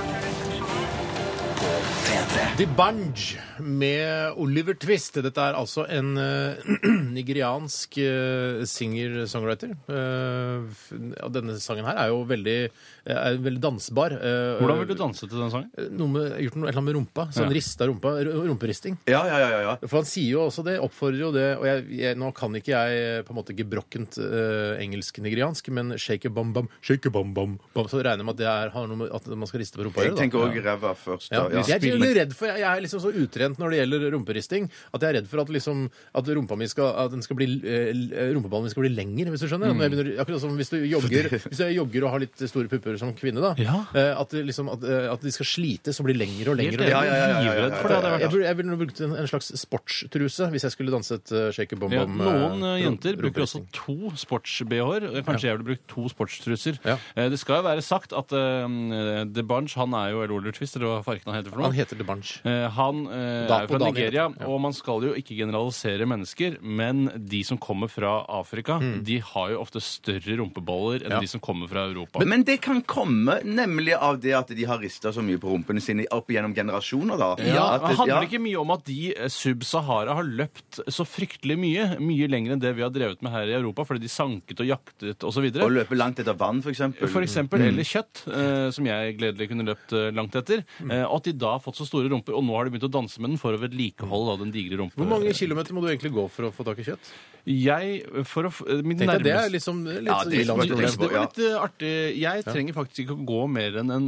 P3.
The Bunge med Oliver Twist. Dette er altså en eh, nigeriansk eh, singer-songwriter. Eh, f- og denne sangen her er jo veldig, eh, er veldig dansbar. eh,
Hvordan vil du danse til den sangen?
Noe med, gjort noe, et eller annet med rumpa. Sånn
Ja.
rista rumpa. ru- Rumperisting.
Ja, ja, ja, ja, ja.
For han sier jo også det, oppfordrer jo det, og jeg, jeg, nå kan ikke jeg eh, på en måte gebrokkent eh, engelsk-nigeriansk, men shake a bam bam, shake a bam bam, bam så regner jeg med at det er, har noe med at man skal riste på rumpa å
Jeg
gjøre, da.
tenker òg ræva først.
Ja,
Da. Ja.
Jeg er litt redd for, jeg er liksom så utrent når det gjelder rumperisting, at jeg er redd for at, liksom, at, rumpa mi skal, at den skal bli, eh, l- rumpeballen min skal bli lengre, hvis du skjønner. Når jeg begynner, akkurat som hvis du jogger, hvis jeg jogger og har litt store pupper som kvinne, da,
Ja.
eh, at, det liksom, at, eh, at de skal slites og bli lengre og lengre. og
Ja, ja,
lengre.
ja, ja,
ja,
Livredd for det. hadde jeg vært.
Jeg, burde, jeg ville brukt en, en slags sportstruse hvis jeg skulle danset uh, shake a bom
Ja,
bom.
noen
eh,
eh, jenter bruker også
rumperisting.
to sports-BH-er. og Kanskje jeg ville brukt to sportstruser.
Ja.
Eh, Det skal jo være sagt at eh, The Bunch, han er jo Eller Oliver Twist, eller hva farken han heter for noe.
Han heter The Bunch.
Eh, Han eh,
Da-
er jo fra
og Daniel,
Nigeria,
ja.
og man skal jo ikke generalisere mennesker, men de som kommer fra Afrika, de har jo ofte større rumpeballer enn
Mm. Ja.
de som kommer fra Europa.
Men det kan komme nemlig av det at de har rista så mye på rumpene sine opp gjennom generasjoner, da.
ja,
At
det handler
ja.
ikke mye om at de eh, sub-Sahara har løpt så fryktelig mye, mye lenger enn det vi har drevet med her i Europa, fordi de sanket og jaktet osv.
Å løpe langt etter vann, for eksempel.
Mm. Mm.
For eksempel, eller kjøtt, eh, som jeg gledelig kunne løpt eh, langt etter. Eh, og at de da fått så store rumper, og nå har de begynt å danse med den for å vedlikeholde da, den digre rumpa.
Hvor mange kilometer må du egentlig gå for å få tak i kjøtt?
Jeg for å f- Mitt
Tenkte jeg, det er
nærmeste
liksom litt
Ja, det er
sånn
som et
det,
ilandsproblem.
problem.
det var litt eh, artig. Jeg trenger faktisk ikke å gå mer enn en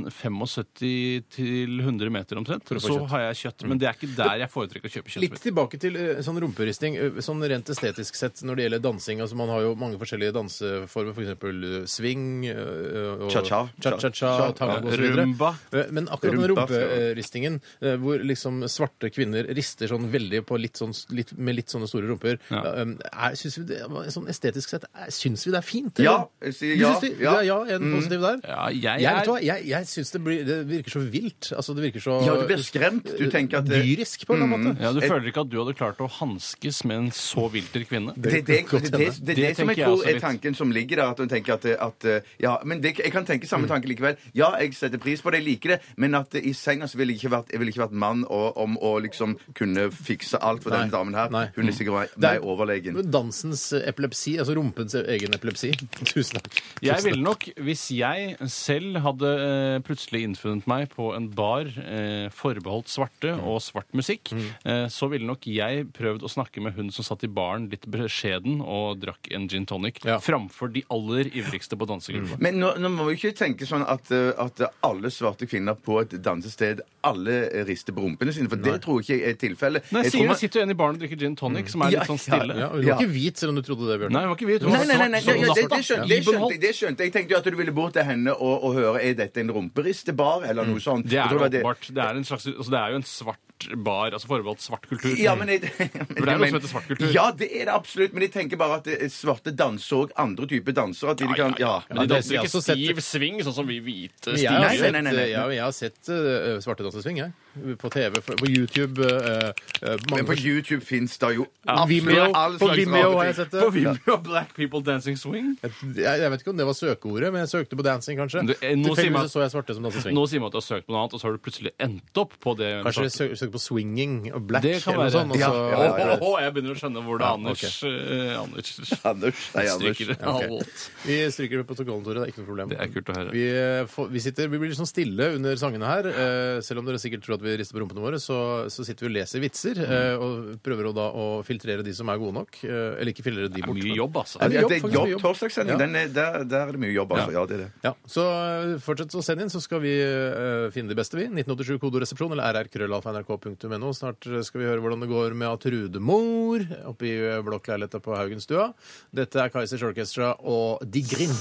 75 til 100 meter omtrent.
å få
Så
kjøtt. Mm.
har jeg kjøtt, men det er ikke der jeg foretrekker å kjøpe kjøttet
Litt
mitt.
tilbake til eh, sånn rumperisting, eh, sånn rent estetisk sett når det gjelder dansing. altså Man har jo mange forskjellige danseformer, f.eks. eksempel eh, swing, eh, og-
Cha-cha.
cha-cha-cha, tango osv.
Rumba.
Eh, Men akkurat den
Rumba,
rumperistingen, eh, hvor liksom svarte kvinner rister sånn veldig på litt sånn, litt, med litt sånne store rumper,
Ja.
eh, er, synes vi det, sånn estetisk sett, er- syns vi det er fint?
Ja,
eller?
jeg sier
Du
ja,
syns det-
ja. Mm.
Du er ja, en positiv der?
Ja, jeg
Jeg, vet du hva,
er
jeg, jeg syns det, blir- det virker så vilt. Altså, det virker så
Ja, du blir skremt. Du tenker at det- Mm.
Dyrisk, på en eller annen måte.
ja, Du føler ikke at du hadde klart å hanskes med en så vilter kvinne?
Det er det, det, det, det, det,
Det
som
tenker jeg
jeg tror
også
er
litt.
tanken som ligger der. At hun tenker at, at eh, Ja, men det, jeg kan tenke
Mm.
samme tanke likevel. Ja, jeg setter pris på det, jeg liker det, men at eh, i senga så ville jeg ikke vært, jeg ville ikke vært mann og, om å liksom kunne fikse alt for
Nei.
denne damen her.
Nei.
Hun er
Mm.
sikkert meg-
Det er-
meg overlegen.
Men Dansens epilepsi, altså rumpens egen epilepsi. Tusen takk.
Jeg
Tusen
ville nok, hvis jeg selv hadde eh, plutselig innfunnet meg på en bar eh, forbeholdt svarte
Mm.
og svart musikk, eh, så ville nok jeg prøvd å snakke med hun som satt i baren litt beskjeden og drakk en gin tonic,
Ja.
framfor de aller ivrigste på dansegruppa.
Men nå, nå må vi ikke tenke sånn at, eh, at alle svarte kvinner på et dansested alle eh, rister på rumpene sine, for det tror jeg ikke er tilfellet.
Nei,
Jeg
sier
tror man- Mm.
det sitter jo en i baren og drikker gin tonic, som er
Ja,
litt sånn
ja,
stille.
takk. Ja, du var
Ja.
ikke hvit selv om du trodde det, Bjørn.
Nei, hun var ikke hvit. hun
Nei,
var
nei, nei,
svart som
nei, nei, det,
natta.
det, skjønte, det, skjønte, jeg- det skjønte jeg. Jeg tenkte jo at du ville bort til henne og, og høre er dette en rumperistebar eller noe sånt.
Mm. Det
Jeg
er
tror det var
åpenbart. Det er, en slags, altså, det er jo en svart bar, altså forbeholdt svart kultur.
Ja, men jeg, men,
det er noe som heter svart kultur.
Ja, det er det absolutt, men jeg tenker bare at eh, svarte danser og andre typer danser. At de kan, ja.
Men de
det-
danser
jeg har
ikke
også sett-
stiv sving, sånn som vi hvite
Men
stiv
Jeg har,
Nei, nei,
sett,
nei, nei, nei.
Jeg, jeg har sett uh, Svartedansesving, jeg. På TV, på YouTube. øh, øh, mange
Men på YouTube fins det jo
forskjellige- Vimeo,
all
på
slags
Vimeo
rare
har jeg
ting.
sett det.
Vimeo Black People Dancing Swing.
Jeg, jeg vet ikke om det var søkeordet, men jeg søkte på dancing, kanskje.
Du, eh, nå sier man-
Tilfeldigvis så jeg svarte som dansesving.
Nå sier man at du har søkt på noe annet, og så har du plutselig endt opp på det.
Kanskje jeg sø- søkte på swinging og black
Det kan
eller noe
være.
sånt. og
Ja,
så-
ja, ja, ja.
Åh, jeg begynner å skjønne hvor det er Anders, eh, Anders
Anders. Nei, Anders.
stryker alt.
Vi stryker det på protokollen, Tore. Det er ikke noe problem.
Det er kult å høre.
Vi, eh, får, vi, sitter, vi blir litt sånn stille under sangene her. Eh, selv om dere sikkert tror at vi rister på rumpene våre, så, så sitter vi og leser vitser. Eh,
Mm.
og prøver å da å filtrere de som er gode nok. Eh, eller ikke filtrere de
Det er
bort.
mye
men-
jobb, altså.
Ja,
Det er mye jobb,
det
faktisk
er
mye
jobb,
jobb.
torsdagssending.
Ja.
den er- Der, der er det mye jobb, altså. Ja, det er det.
Ja, Så eh, fortsett å sende inn, så skal vi eh, finne de beste, vi. 1987 kodoresepsjon eller rrkrøllalfa.nrk.no. Snart eh, skal vi høre hvordan det går med at Trude Mor oppe i eh, blokkleiligheta på Haugenstua. Dette er Kaizers Orchestra og De Grind.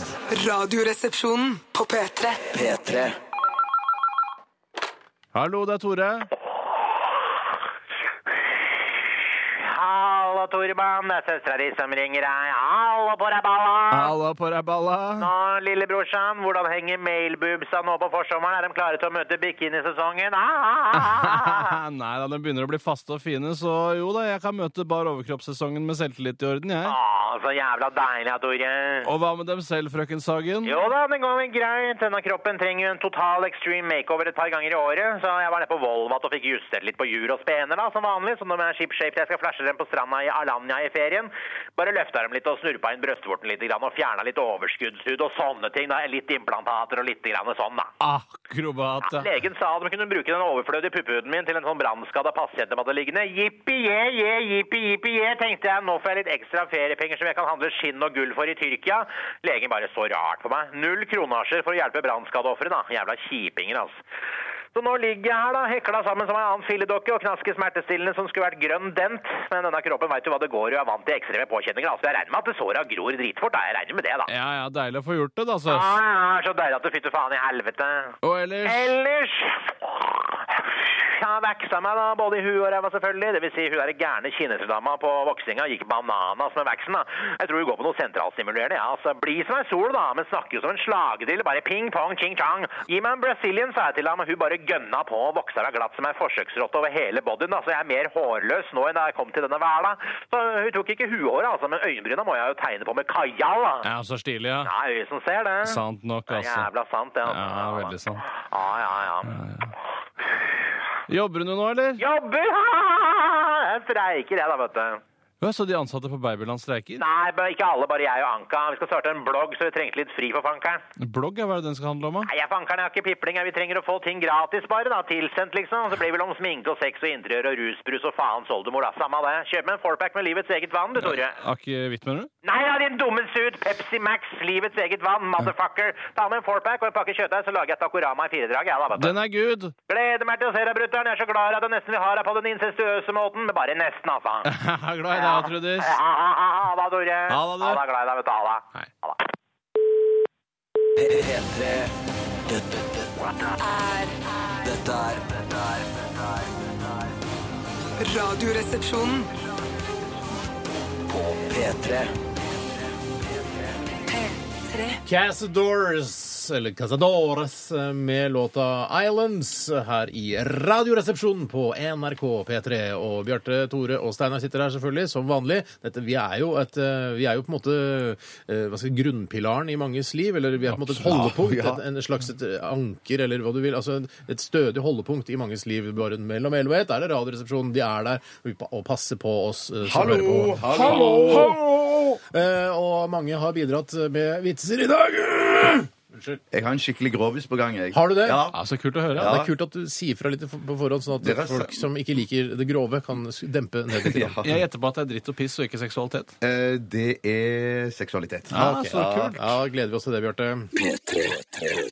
Radioresepsjonen på P3.
P3
Hallo, det er Tore.
Hallo, Torban. Det er søstera di som ringer deg. Hallo på deg, balla!
Halla på deg, balla.
Nå, lillebrorsan, hvordan henger mailboobsa nå på forsommeren? Er de klare til å møte bikinisesongen? Ah, ah, ah, ah, ah.
Nei da, de begynner å bli faste og fine, så jo da, jeg kan møte bar overkroppssesongen med selvtillit i orden, jeg.
Ah, så jævla deilig, ja, Tore.
Og hva med dem selv, frøken Sagen?
Jo da, det går vel greit. Denne kroppen trenger jo en total extreme makeover et par ganger i året. Så jeg var nede på Volvat og fikk justert litt på jur og spener, da, som vanlig. Så når jeg er shipshaped, jeg skal flashe dem på stranda i Alanya i ferien. Bare løfta dem litt og snurpa inn brystvorten litt grann, og fjerna litt overskuddshud og sånne ting. da, Litt implantater og litt grann sånn, da.
Akrobat, ja.
Legen sa at de kunne bruke den overflødige puppehuden min til en sånn brannskada pasient de hadde liggende. Jippi-je, jippi-jippi-je, tenkte jeg. Nå får jeg litt ekstra feriepenger som jeg kan handle skinn og gull for i Tyrkia. Legen bare så rart på meg. Null kronasjer for å hjelpe brannskadeofre, da. Jævla kjipinger, altså. Så nå ligger jeg her, da, hekla sammen som en annen filledokke og knasker smertestillende som skulle vært grønn dent. Men denne kroppen veit jo hva det går i og er vant til ekstreme påkjenninger, altså. Jeg regner med at det såra gror dritfort, da. Jeg regner med det, da.
Ja ja, deilig å få gjort det, da,
Ja,
søs.
ja, ja, så deilig at du fytter faen i helvete.
Og ellers
Ellers Jeg veksa meg da, både i huet og ræva selvfølgelig. Det vil si, hun der gærne kineserdama på voksinga gikk bananas med veksen, da. Jeg tror hun går på noe sentralstimulerende, ja. Altså, bli som ei sol, da, men snakker jo som en slagedrill. Bare ping-pong, ching-chang. Gi meg en Brazilian, sa jeg til ham, og hun bare gønna på og voksa meg glatt som ei forsøksrotte over hele bodyen, da, så jeg er mer hårløs nå enn da jeg kom til denne hverla. Så hun tok ikke huhåret, altså, men øyenbryna må jeg jo tegne på med kajal, da.
Ja, så stilig, ja.
Ja, øyet som ser det.
Sant nok,
Det er
altså.
Jævla sant, ja.
Ja, veldig sant.
Ja, ja, ja.
Jobber du nå, eller?
Jobber! Jeg streiker, jeg, da, vet du.
Ja, så de ansatte på Babyland streiker?
Nei, bare- ikke alle, bare jeg og Anka. Vi skal starte en blogg, så vi trengte litt fri for fankeren.
Blogg, ja, hva er det den skal handle om? da?
Nei, jeg fankeren er ikke pipling. jeg. Vi trenger å få ting gratis bare, da. Tilsendt, liksom. Så blir det vel om sminke og sex og interiør og rusbrus og faens oldemor, da. Samme det. Kjøp meg en fourpack med livets eget vann, du, Tore.
Akevitt, mener du?
Nei da, din dumme sut! Pepsi Max, livets eget vann, motherfucker! Ta med en fourpack og en pakke kjøttdeig, så lager jeg takorama i firedrag, jeg, da, vet du.
Den er good!
Gleder meg til å se deg, brutter'n. Jeg er så glad at jeg nesten vil ha deg på den incestuøse måten. Men bare nesten, altså.
Glad i deg, Trudis.
Ha ha da, Tore.
Ha det, du.
Ha det, glad i deg, vet du. Ha det.
Nei.
Ha det.
P3 Dette, dette, dette er Dette er
Radioresepsjonen.
På P3
P3.
Cazadores, eller Cazadores, med låta 'Islands' her i Radioresepsjonen på NRK P3. Og Bjarte, Tore og Steinar sitter her selvfølgelig, som vanlig. Dette, vi, er jo et, eh, vi er jo på en måte eh, hva skal jeg, grunnpilaren i manges liv, eller vi er på en måte et holdepunkt,
Ja.
et, en slags et eh, anker, eller hva du vil. Altså et stødig holdepunkt i manges liv. Bare mellom 11 og 1 er det Radioresepsjonen, de er der og vi pa- og passer på oss eh, som hører på.
Hallo! Hallo!
Eh, og mange har bidratt med vitser i dag. Unnskyld.
Jeg har en skikkelig grovis på gang, jeg.
Har du det?
Ja.
Ja, så kult å høre.
Ja,
Ja.
det er kult at du sier fra litt for- på forhånd, sånn at
Dere er
folk
sø-
som ikke liker det grove, kan s- dempe ned litt.
Ja.
grann.
Jeg gjetter på at det er dritt og piss og ikke seksualitet.
Eh, Det er seksualitet.
Ja,
ok.
så kult.
Ja, gleder vi oss til det, Bjarte.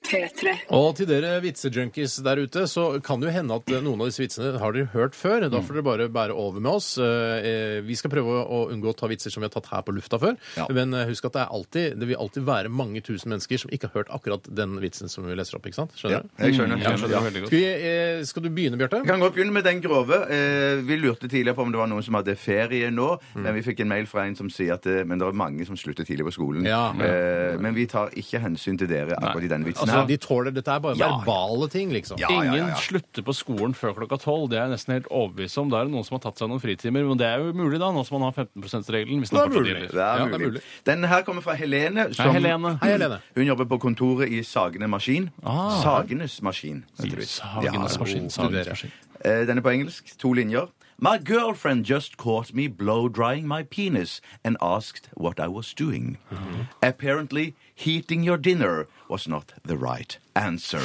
P3.
Og til dere vitsejunkies der ute, så kan det jo hende at eh, noen av disse vitsene har dere hørt før. Da får dere bare bære over med oss. Eh, eh, Vi skal prøve å unngå å ta vitser som vi har tatt her på lufta før.
Ja.
Men eh, husk at det, er alltid, det vil alltid være mange tusen mennesker som ikke har hørt akkurat den vitsen som vi leser opp. ikke sant?
Ja,
Skjønner du?
jeg skjønner.
Mm, Jeg skjønner det
Ja.
veldig
Skal,
godt.
vi, eh, skal du begynne, Bjarte?
Jeg kan godt begynne med den grove. Eh, Vi lurte tidligere på om det var noen som hadde ferie nå,
Mm.
men vi fikk en mail fra en som sier at eh, men det er mange som slutter tidlig på skolen.
Ja.
Eh, Men vi tar ikke hensyn til dere akkurat i den vitsen.
Altså,
her.
de tåler, Dette er bare
Ja.
verbale ting, liksom.
Ja, ja, ja, ja.
Ingen slutter på skolen før klokka tolv. Det er jeg nesten helt overbevist om. Da er det noen som har tatt seg noen fritimer, men det er jo mulig da, nå som man har 15 %-regelen. hvis den
Det er
fortsatt
mulig.
gjelder.
Det er,
Ja, det er
mulig.
mulig.
Den her kommer fra Helene.
Hei, Helene.
Hei, Helene.
Hun jobber på kontoret i Sagene Maskin.
Ah.
Sagenes Maskin. heter det.
Sagenes
Ja.
maskin.
studerer.
Sagenes maskin.
Eh, Den er på engelsk. To linjer. My girlfriend just caught me blow-drying my penis and asked what I was doing.
Mm-hmm.
Apparently, heating your dinner was not the right answer.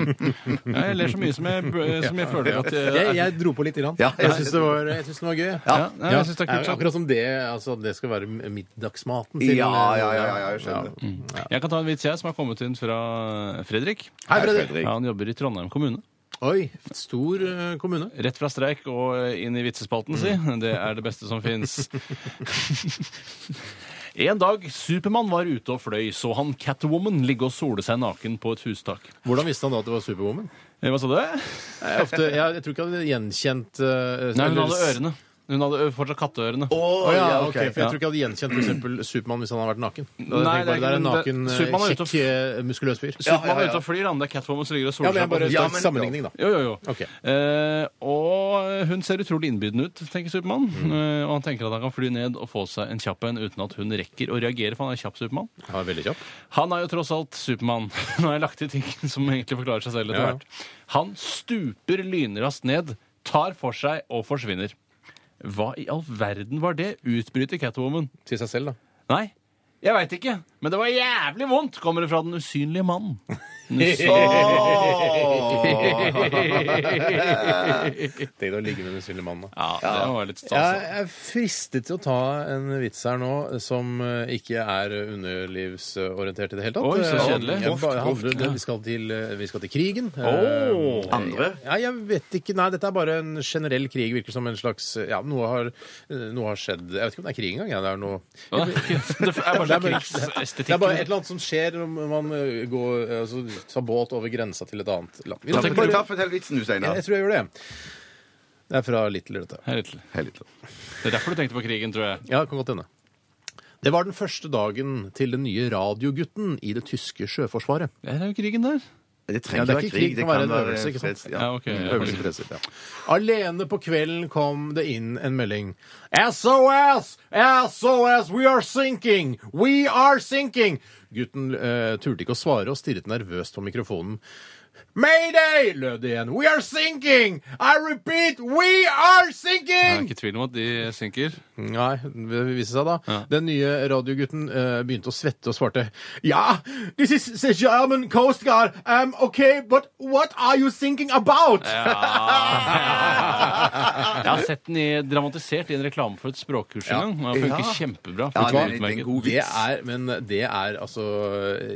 Ja, jeg ler så mye som jeg, som jeg føler at
Jeg, jeg dro på litt. Grann.
Ja.
jeg syns det, var- jeg syns det var gøy.
Ja, nei, jeg synes det er kult.
akkurat som det, altså, det skal være middagsmaten til
Ja, ja, ja, ja, jeg skjønner.
Ja.
Jeg kan ta en vits jeg som har kommet inn fra Fredrik.
Hei, Fredrik.
Fredrik.
Ja, han jobber i Trondheim kommune.
Oi, stor eh, kommune.
Rett fra streik og eh, inn i vitsespalten, si. Det er det beste som fins. En dag Supermann var ute og fløy, så han Catwoman ligge og sole seg naken på et hustak.
Hvordan visste han da at det var Superwoman?
Eh, Hva sa du?
Jeg, er ofte, jeg, jeg tror ikke han hadde gjenkjent eh,
Nei, hun
eller-
hadde ørene. Hun hadde ø- fortsatt katteørene.
Å,
Å, ja,
ja,
ok, for
ok.
Jeg
Ja.
tror ikke jeg hadde gjenkjent for eksempel Supermann hvis han hadde vært naken. Da hadde
Nei,
jeg tenkt bare,
det
det
er
er en
ikke-
naken,
men det-
eh,
Superman er ute og
kjekk, eh, muskuløs fyr.
Ja, ja,
Supermann
ja,
er
ja.
ute og flyr, han. Det er Catwoman som ligger og
Ja,
soler
men jeg
seg på
bare
et
Ja,
står
hustak.
men-
sammenligning, da.
Jo, jo, jo.
Ok.
Eh, og hun ser utrolig innbydende ut, tenker Supermann. Eh, og han tenker at han kan fly ned og få seg en kjapp en uten at hun rekker å reagere, for han er kjapp Supermann.
Ja, veldig kjapp.
Han er jo tross alt Supermann. Nå har jeg lagt til ting som egentlig forklarer seg selv etter
Ja, ja.
hvert. Han stuper lynraskt ned, tar for seg og forsvinner. Hva i all verden var det? Utbryter Catwoman.
Til seg selv, da.
Nei, jeg veit ikke, men det var jævlig vondt, kommer det fra den usynlige mannen.
Tenk deg å ligge med den usynlige mannen, da.
Ja, det var litt stas. altså.
Jeg
da.
er fristet til å ta en vits her nå som eh, ikke er underlivsorientert i det hele tatt.
Oi, så
Eh,
kjedelig.
jeg bare handler- det- Vi, skal til, eh, vi skal til krigen.
Åh.
Eh,
Andre?
Ja, jeg vet ikke. Nei, dette er bare en generell krig. Virker som en slags Ja, noe har, eh, noe har skjedd Jeg vet ikke om det er krig engang. Ja, det er noe
Ja, Det er bare sånn
det er bare- Det er
krigsestetikk.
bare et eller annet som skjer når man eh, går, eh, altså, tar båt over grensa til et annet land. Vi
Ja,
tar
fortell-
bare-
ta- Fortell vitsen, du, Steinar.
jeg, jeg tror jeg gjør det. Det er fra Little, dette.
Hei, Litle.
Hei, litt.
Det er derfor du tenkte på krigen, tror jeg.
Ja, det kan godt hende. Det var den første dagen til den nye radiogutten i det tyske sjøforsvaret.
Det er jo krigen der.
Det
Ja,
trenger
det er
ikke
ikke
være krig.
krig, det kan være en øvelse, ikke sant?
freds- ja.
Ja, ok. Ja.
Øvelse i fredsritt, ja. Alene på kvelden kom det inn en melding. SOS! SOS! We are sinking! We are sinking! Gutten eh, turte ikke å svare og stirret nervøst på mikrofonen. Mayday! lød det igjen. We are sinking! I repeat, we are
Det er
sinking!
ikke tvil om at de synker.
Nei, det viste seg da.
Ja.
Den nye radiogutten eh, begynte å svette og svarte Ja, this is the German Coast Guard. Um, ok, but what are you thinking about?
Jeg har sett den i, dramatisert i en reklame for et språkkurs en gang. og Den funker kjempebra.
Ja,
Funker
det er en
utmerket.
liten god
Det
vits.
er, men det er altså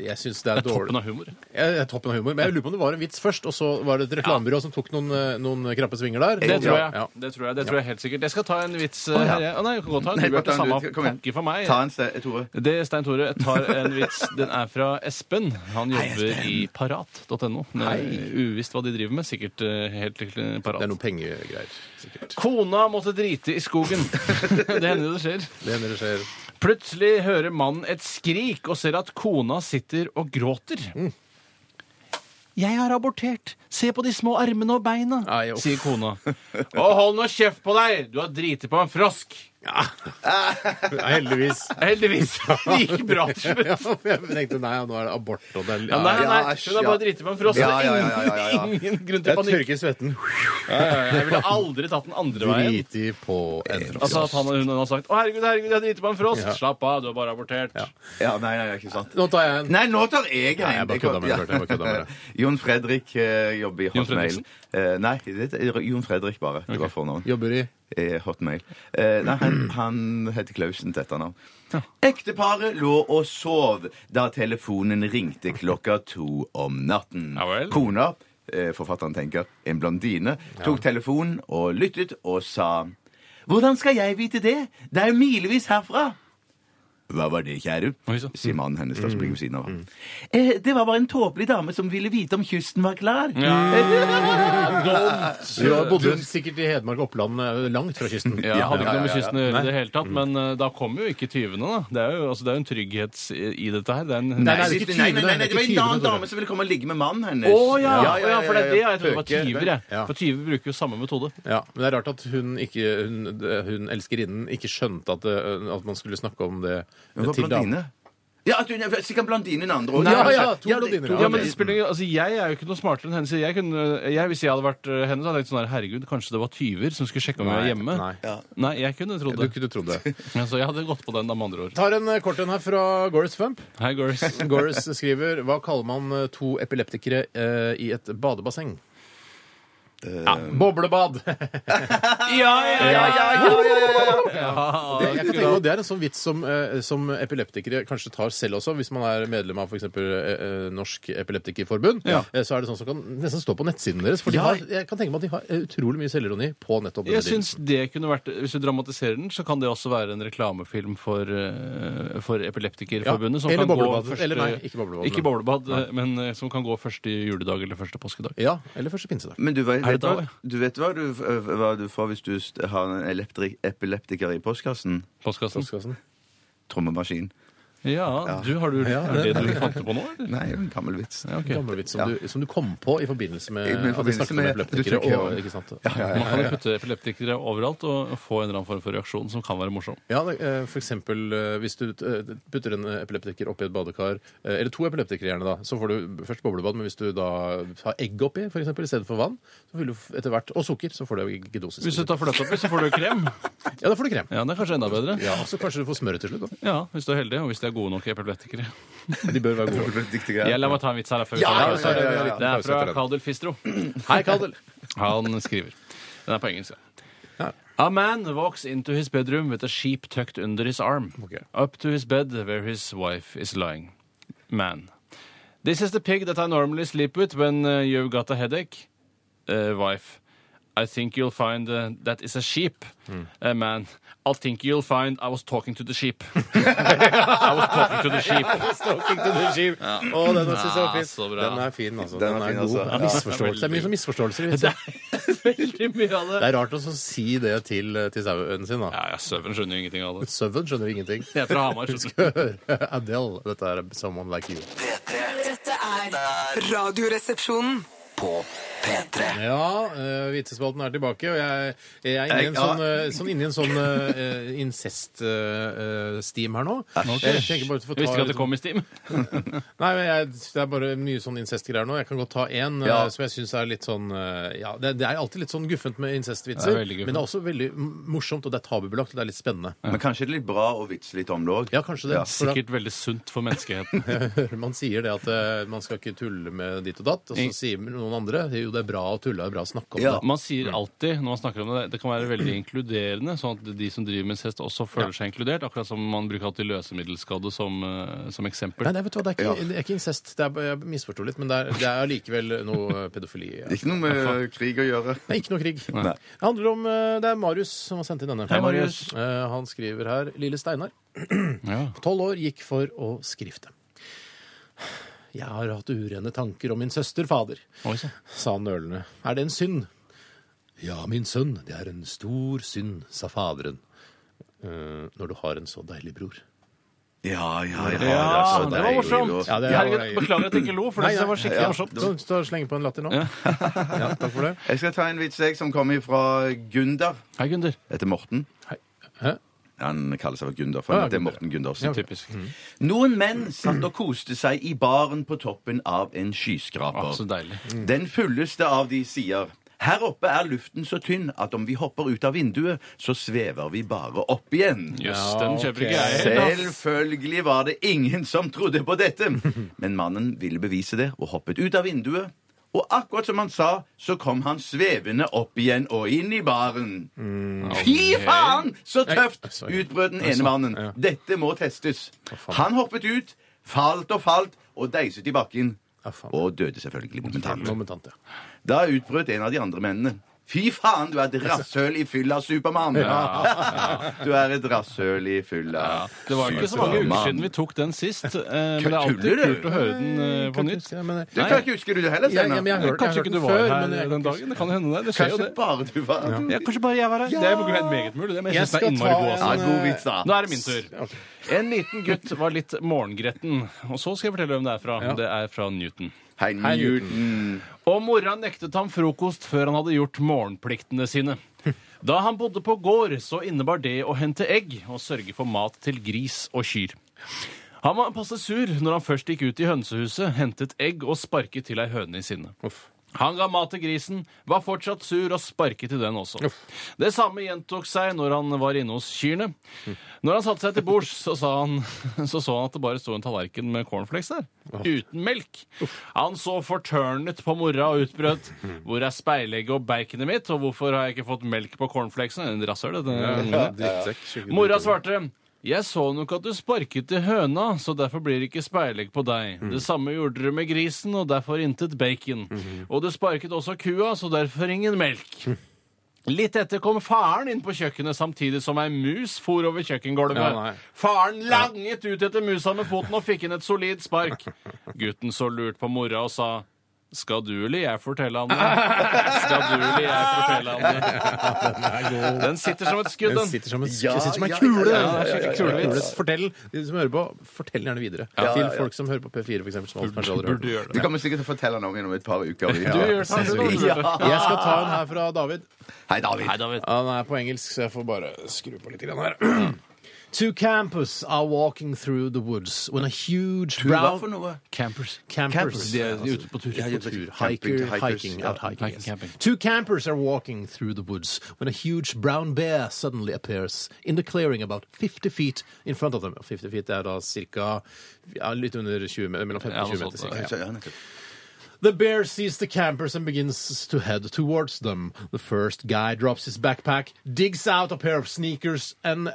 Jeg syns det er,
Det er
dårlig.
toppen av humor.
Ja, det er toppen av humor. Men jeg lurer på om det var en vits først, og så var det et reklamebyrå som tok noen, eh, noen krappe svinger der.
Det tror jeg.
Ja.
Det tror jeg, det tror jeg helt sikkert. Jeg skal ta en vits
Å, ja.
her. jeg. Å, nei, du kan godt ta en.
Nei,
Du
bare
Bjarte.
ta en
er Samme
ut. Kom igjen.
pakke for meg.
Ta en, se- Tore.
Det, Stein Tore, jeg tar en vits. Den er fra Espen. Han jobber i parat.no. Det er Uvisst hva de driver med. Sikkert eh, helt eh,
Det er
parat.
noen pengegreier, sikkert.
Kona måtte drite i skogen. Det hender jo det skjer.
Det hender det skjer.
Plutselig hører mannen et skrik og ser at kona sitter og gråter. Jeg har abortert. Se på de små armene og beina,
Ai, uff.
sier kona. Å, hold nå kjeft på deg! Du har driti på en frosk.
Ja, heldigvis.
Heldigvis. Det gikk bra til slutt.
Ja, for jeg tenkte nei, nå er det abort. Og det er,
Ja, nei, nei,
ja,
Ja,
nei,
æsj,
hun har
ja.
bare driti på en frosk.
Ja, ja, ja, ja, ja, ja.
Ingen, ingen grunn til
jeg
panikk.
tørker svetten.
Jeg ville aldri tatt den andre veien.
Driti på en
Altså at han, hun har sagt 'Å, herregud, herregud, jeg har driti på en frosk'.
Ja.
Slapp av, du har bare abortert.
Ja, nei, nei, ikke sant.
Nå tar jeg en.
Nei, nå tar jeg en.
Nei, jeg bare kødda med deg, Bjarte, jeg bare kødda med deg.
Jon Fredrik eh, jobber i
Jon
Hotmail. Eh, nei, det er Jon Fredrik bare. Det var fornavn.
Jobber i
Eh, Hotmail. Eh, nei, han, han heter Klausen til etternavn. Ekteparet lå og sov da telefonen ringte klokka to om natten.
Ja vel.
Kona, eh, forfatteren tenker, en blondine, tok telefonen og lyttet og sa Hvordan skal jeg vite det? Det er jo milevis herfra. Hva var det, kjære?
Oi, så.
sier mannen hennes. da som ligger ved siden av.
Mm,
Eh, det var bare en tåpelig dame som ville vite om kysten var klar. Eh,
Du har bodd sikkert i Hedmark og Oppland, eh, langt fra kysten.
Ja, jeg hadde ikke
ja,
noe med
ja, ja.
kysten å gjøre i det hele tatt, men eh, da kom jo ikke tyvene, da. Det er jo, altså, det er jo en trygghet i i dette her. Det er en...
Nei, det
Nei,
er ikke
nei, nei,
tyvene,
nei, nei,
det er
det var
ikke
en annen
tyvene,
dame som ville komme og ligge med mannen hennes.
Å ja, å, ja, for det er det
ja.
jeg trodde var
Pøker,
tyver, jeg.
ja.
For tyver bruker jo samme metode.
Ja, men det er rart at hun, ikke, hun, hun elskerinnen ikke skjønte at, det- at man skulle snakke om det
Hun var
til damen.
blondine. Ja, at hun er sikkert blondine den andre også.
Nei, ja, ja, to
det-
blondiner,
to
Ja,
Ja, men det
det-
spiller, ingen- altså, Jeg er jo ikke noe smartere enn henne. Så jeg kunne, jeg, hvis jeg hadde vært eh, henne, så hadde jeg tenkt sånn her Herregud, kanskje det var tyver som skulle sjekke om jeg var
Nei,
hjemme.
nei. Ja.
Nei, jeg kunne trodd
Du
det.
kunne trodd det.
Ja, så jeg hadde gått på den, da, med andre ord.
Tar en eh, kort en her fra Goris Fump.
Hei, girls.
Goris skriver Hva kaller man eh, to epileptikere eh, i et badebasseng?
Eh.
Ja, boblebad!
Ja, ja, ja!
Jeg kan tenke meg, at Det er en sånn vits som, eh, som epileptikere kanskje tar selv også, hvis man er medlem av f.eks. Eh, Norsk Epileptikerforbund.
Ja.
Eh, så er det sånn som kan nesten stå på nettsiden deres. For de
Ja.
har, jeg kan tenke meg at de har eh, utrolig mye selvironi på nettopp denne
Jeg synes det kunne vært, Hvis du dramatiserer den, så kan det også være en reklamefilm for, eh, for Epileptikerforbundet.
Ja,
som
eller
kan gå
boblebad.
første-
Eller nei, ikke boblebad.
Ikke boblebad, eh, men eh, som kan gå første juledag eller første påskedag.
Ja, eller første pinsedag.
Men du vet,
Er det
vet,
da,
hva, du vet hva, du, hva du får hvis du st- har en elektri- epileptiker i postkassen?
Postkassen.
Postkassen.
Trommemaskin.
Ja, du, har du, er det det du fant på nå? eller?
Nei, det er en gammel vits.
Ja, ok.
Gammel vits som, du, som du kom på i forbindelse med
I- med
at vi
forbindelse
snakket om
med-
epileptikere.
du tenker-
Og, ikke sant?
Man kan jo putte epileptikere overalt og få en eller annen form for reaksjon som kan være morsom.
Ja, det, eh, for eksempel eh, hvis du eh, putter en epileptiker oppi et badekar, eh, eller to epileptikere gjerne da, så får du først boblebad, men hvis du da har egg oppi, for eksempel, i stedet for vann, så vil du f- etter hvert, og sukker, så får du eggedosis.
Hvis du tar fløte oppi, så får du krem.
Ja, da får du krem.
Ja, Det er kanskje enda bedre.
Ja, og så kanskje du får smør til slutt da.
Ja, Hvis du er heldig, og hvis de er gode nok epileptikere.
De bør være gode.
Jeg La meg ta en vits her. da, Før vi
Ja,
tar
ja,
en pause.
ja, ja, ja.
Det er
Pause etter
fra
den.
Kadel Fistro.
Hei, Kadel!
Han skriver. Den er på engelsk. ja. A man walks into his bedroom with a sheep tucked under his arm,
Ok.
up to his bed where his wife is lying. Man. This is the pig that I normally sleep with when uh, you've got a headache. Uh, wife. I think you'll find uh, that is a sheep.
Hmm.
A man. I think you'll find I was talking to the sheep. I was talking to the sheep.
Stalking to the sheep. Å, den synes jeg var
Ja,
fin.
så bra.
Den er fin, altså.
Den er
Den er
fin,
god.
altså.
Ja, misforståelse. Det er mye sånn misforståelser. i vitsen.
Det er veldig mye av
Det
det.
er rart å så si det til, eh, til sauen sin, da.
Ja, ja, Søvn skjønner jo ingenting av det.
Sauen skjønner ingenting.
Jeg er fra Hamar. skjønner du.
Adele, dette er Someone Like You.
P3.
Dette er Radioresepsjonen.
på P3.
Ja, uh, Vitsespalten er tilbake, og jeg, jeg er inni en
Ja.
sånn, eh, sånn, inni en sånn incest-steam eh, her nå. Jeg tenker bare at du får
Jeg visste
ta
ikke at det kom i Steam.
Nei, men jeg, Det er bare mye sånn incest-greier nå. Jeg kan godt ta én
Ja.
eh, som jeg syns er litt sånn eh, Ja, det, det er alltid litt sånn guffent med incestvitser,
Det er veldig guffent.
men det er også veldig m- morsomt, og det er tabubelagt, og det er litt spennende.
Men kanskje det er litt bra å vitse litt om det òg?
Ja, kanskje det. For da-
Sikkert veldig sunt for menneskeheten.
hører man sier det at eh, man skal ikke tulle med ditt og datt, og så
I-
sier noen andre jo det er bra å tulle, det er bra å snakke om
Ja.
det.
Man sier alltid når man snakker om det, det kan være veldig inkluderende, sånn at de som driver med incest også føler seg inkludert, akkurat som man bruker alltid løsemiddelskade som, eh, som eksempel.
Nei, nei, vet du hva, det er ikke, det er ikke incest. Det er, jeg misforsto litt, men det er, det er allikevel noe pedofili. ja.
Ikke noe med eh, krig å gjøre.
Nei, ikke noe krig.
Nei.
Det handler om, eh, det er Marius som har sendt inn denne.
Hei, Marius.
Eh, Han skriver her Lille Steinar,
Ja.
tolv år, gikk for å skrifte. Jeg har hatt urene tanker om min søster, fader,
Oi, så.
sa han nølende. Er det en synd? Ja, min sønn, det er en stor synd, sa faderen. «Eh, Når du har en så deilig bror.
Ja, ja, ja. altså,
Ja,
så
det var
deilig,
morsomt.
da.
Ja, det er-
Herregud, beklager at jeg ikke lo, for det synes jeg var skikkelig morsomt.
Så, så slenge på en latter nå. Ja. takk for det.
Jeg skal ta en vits jeg som kommer fra Gunder.
Hei, Gunder.
Heter Morten.
Hei. Hæ?
Han kaller seg for Gunder, for
Ja,
han heter
Gunder.
Morten Gundersen.
Typisk.
Noen menn satt og koste seg i baren på toppen av en
Å,
skyskraper.
så deilig. Mm.
Den fulleste av de sier her oppe er luften så tynn at om vi hopper ut av vinduet, så svever vi bare opp igjen.
Jøss,
Ja,
den
ok.
kjøper ikke jeg.
Selvfølgelig var det ingen som trodde på dette, men mannen ville bevise det og hoppet ut av vinduet. Og akkurat som han sa, så kom han svevende opp igjen og inn i baren. Fy faen, så tøft!
Mm. Nei, sorry.
utbrøt den ene mannen. Dette må testes. Han hoppet ut, falt og falt, og deiset i bakken.
Ja, faen.
Og døde selvfølgelig momentant.
Momentant, ja.
Da utbrøt en av de andre mennene. Fy faen, du er et rasshøl i fylla, Supermann! Du er et rasshøl i fylla.
Det var ikke så mange uker siden vi tok den sist, eh, men det er alltid
Tuller du?
kult å høre den eh, på nytt.
Ja, men,
Du kan ikke huske du det heller,
Ja, ja,
Steinar.
men jeg har hørt, jeg
Kanskje
har hørt
ikke du
den
var
før,
her
men jeg,
den dagen. Det kan hende det. Det skjer jo
Kanskje
det.
bare du var
Ja, kanskje bare jeg var her. Det er jo helt meget mulig. Det, men jeg
Jeg
synes den er
skal ta
innmari god også.
Ja, god
eh,
vits, da.
Nå er det min tur. En liten gutt var litt morgengretten. Og så skal jeg fortelle hvem det er fra. Det er fra Newton.
Hei, Newton.
Mm.
Og mora nektet ham frokost før han hadde gjort morgenpliktene sine. Da han bodde på gård, så innebar det å hente egg og sørge for mat til gris og kyr. Han var passe sur når han først gikk ut i hønsehuset, hentet egg og sparket til ei høne i sinne. Han ga mat til grisen, var fortsatt sur og sparket til den også. Det samme gjentok seg når han var inne hos kyrne. Når han satte seg til bords, så, sa han, så så han at det bare sto en tallerken med cornflakes der. Uten melk. Han så fortørnet på mora og utbrøt Hvor er speilegget og baconet mitt, og hvorfor har jeg ikke fått melk på cornflakesen? En rasshøl, dette. Mora svarte jeg så nok at du sparket til høna, så derfor blir det ikke speilegg på deg.
Mm.
Det samme gjorde du med grisen, og derfor intet bacon.
Mm-hmm.
Og du sparket også kua, så derfor ingen melk.
Hm.
Litt etter kom faren inn på kjøkkenet samtidig som ei mus for over kjøkkengulvet.
Ja, nei.
faren langet ut etter musa med foten og fikk inn et solid spark. Gutten så lurt på mora og sa skal du eller jeg fortelle ham det? Skal du eller jeg fortelle ham det? Den sitter som et skudd,
Den
den.
sitter som en,
Ja,
sitter som en
ja,
kule!
ja, ja,
ja, ja, ja, ja.
Kulevits. Fortell de som hører på, fortell gjerne videre. Til folk som hører på P4, for eksempel, som alt kanskje aldri har hørt.
gjøre
Du kommer sikkert til å fortelle han om gjennom et par uker.
Du gjør sånn, du, da,
Ja.
Bjarte.
Jeg skal ta en her fra David.
Hei, David.
Nei, David.
Han er på engelsk, så jeg får bare skru på litt grann her. Two campers are walking through the woods when a huge
Hva
brown
for noe?
Campers.
Campers.
De er ute på tur.
Ja,
På
ute på
tur.
tur. Hiker,
Camping, hikers,
hiking,
ja.
out hiking,
Hiking,
yes.
camping.
Two campers are walking through the woods when a huge brown bear suddenly appears in the clearing about 50 feet in front of them. 50 feet er da cirka ja, litt uh, under 20, me- mellom 15
Ja,
og 20
noe
meter.
sånt,
Cirka, ja.
Så, ja, nettopp.
The bear sees the campers and begins to head towards them. The first guy drops his backpack, digs out a pair of sneakers, and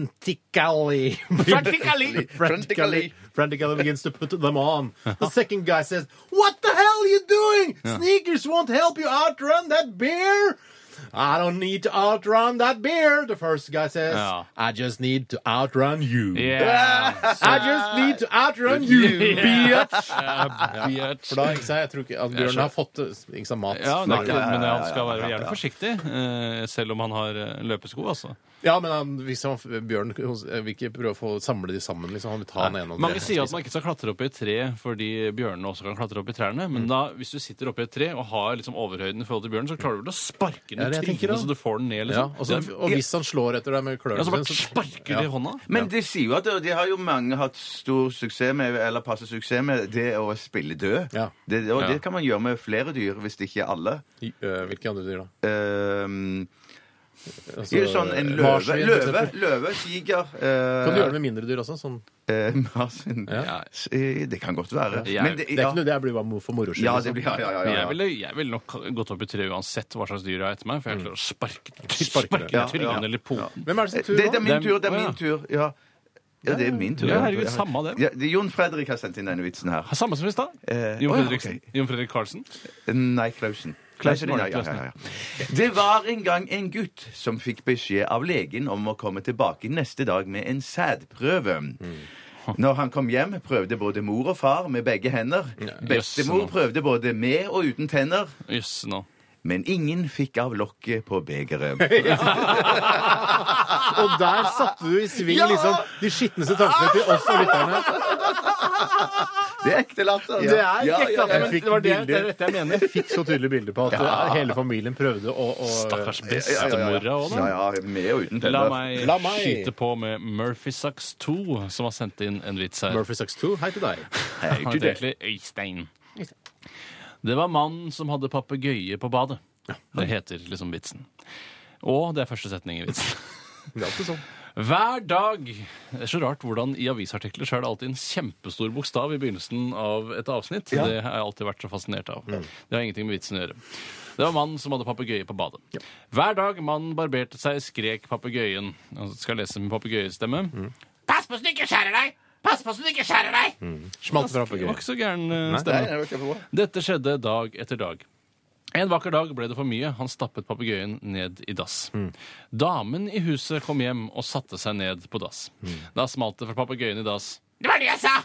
frantically,
Frantically.
frantically, frantically begins to put them on. The second guy says, "What the hell are you doing? Sneakers won't help you outrun that bear." I don't need to outrun that beer, the first guy says.
Ja.
I just need to outrun you.
Yeah.
I just need to outrun you, bitch!
Ja, bitch.
For da, ikke sant, jeg tror ikke at
Jeg
Bjørn
skjønner.
har fått ikke sant, mat.
Ja, det er ikke,
ja, ja,
men
ja,
han skal
ja,
være
ja,
gjerne
ja.
forsiktig, eh, selv om han har eh, løpesko, altså.
Ja, men han, hvis han, Bjørn eh, vil ikke prøve å få samle de sammen, liksom. Han vil ta den ene og den
Mange
andre.
sier at man ikke skal klatre opp i et tre fordi bjørnene også kan klatre opp i trærne, men da, hvis du sitter oppe i et tre og har liksom overhøyden i forhold til bjørnen, så klarer du vel å sparke den
Ja,
i
det jeg tenker
trynet
da.
så du får den ned,
ja,
liksom.
og, så,
Det er-
og hvis han slår etter deg med klørne
ja, så bare sparker du i hånda.
Men de sier jo at det- de har jo mange hatt stor suksess med, eller passe suksess med, det å spille død.
Ja.
Det, og
Ja.
det kan man gjøre med flere dyr, hvis det ikke er alle.
I, øh, hvilke andre dyr, da?
Ehm,
Altså,
det er jo sånn en løve,
marsvin, for
løve,
eksempel.
løve, tiger eh,
Kan du gjøre det med mindre dyr også? Sånn.
eh, Marsvin.
Ja.
S- eh, Det kan godt være.
Ja.
Men det,
Det er
ja,
ikke noe, det blir bare mo- for moro skyld.
ja,
liksom.
det blir ja, ja, ja,
Men
ja.
Jeg ville, jeg ville nok gått opp i tre uansett hva slags dyr jeg har etter meg, for jeg klarer å sparke,
Sparke
sparke
det.
den i
Ja, ja.
trynet eller poten.
Hvem er det
Det,
sin tur
det er
nå?
Det er-
min tur, det
å,
er
ja.
min tur. Ja, ja det er min tur.
Ja, herregud, samme det.
Ja, det er Jon Fredrik har sendt inn denne vitsen her.
Samme som i stad.
Eh,
Jon
å, ja,
Fredriksen.
ok.
Jon Fredrik Karlsen.
Eh, Nei, Klausen.
Klausen
Nei,
var det,
ja, ja,
Klausen,
ja, ja. Det var en gang en gutt som fikk beskjed av legen om å komme tilbake neste dag med en sædprøve.
Mm.
Når han kom hjem, prøvde både mor og far med begge hender. Bestemor
jøsse nå.
prøvde både med og uten tenner.
Jøss, nå.
Men ingen fikk av lokket på begeret.
Og der satte du i sving
Ja!
liksom, de skitneste tankene til oss og lytterne.
Det er ekte latter.
Det er
Ja,
ikke
ja, ja, ja.
men det var det, det er dette jeg mener. Jeg fikk så tydelig bilde på at uh, hele familien prøvde å, å
Stakkars
Ja, ja, ja,
bestemora
ja.
òg, da.
Ja, ja, med og uten
La
tenner.
meg,
La meg-
skyte på med Murphy Sucks 2, som har sendt inn en vits her.
Murphy Sucks 2, hei til deg.
Hei,
Han
til
heter egentlig
det.
Øystein. Det var mannen som hadde papegøye på badet. Det heter liksom vitsen. Og det er første setning i vitsen.
Det er alltid sånn.
Hver dag Det er så rart hvordan i avisartikler så er det alltid en kjempestor bokstav i begynnelsen av et avsnitt. Det har jeg alltid vært så fascinert av.
Mm.
Det har ingenting med vitsen å gjøre. Det var mannen som hadde papegøye på badet. Hver dag mannen barberte seg, skrek papegøyen Jeg Skal lese med papegøyestemme.
Mm,
Pass på så du ikke skjærer deg! Pass på så du ikke skjærer deg!
Smalt fra
Det
papegøyen.
var ikke så gæren eh,
Nei,
stemme.
det var kjempebra.
Dette skjedde dag etter dag. En vakker dag ble det for mye. Han stappet papegøyen ned i dass.
Mm.
Damen i huset kom hjem og satte seg ned på dass.
Mm.
Da smalt det for papegøyen i dass. Det var det jeg sa!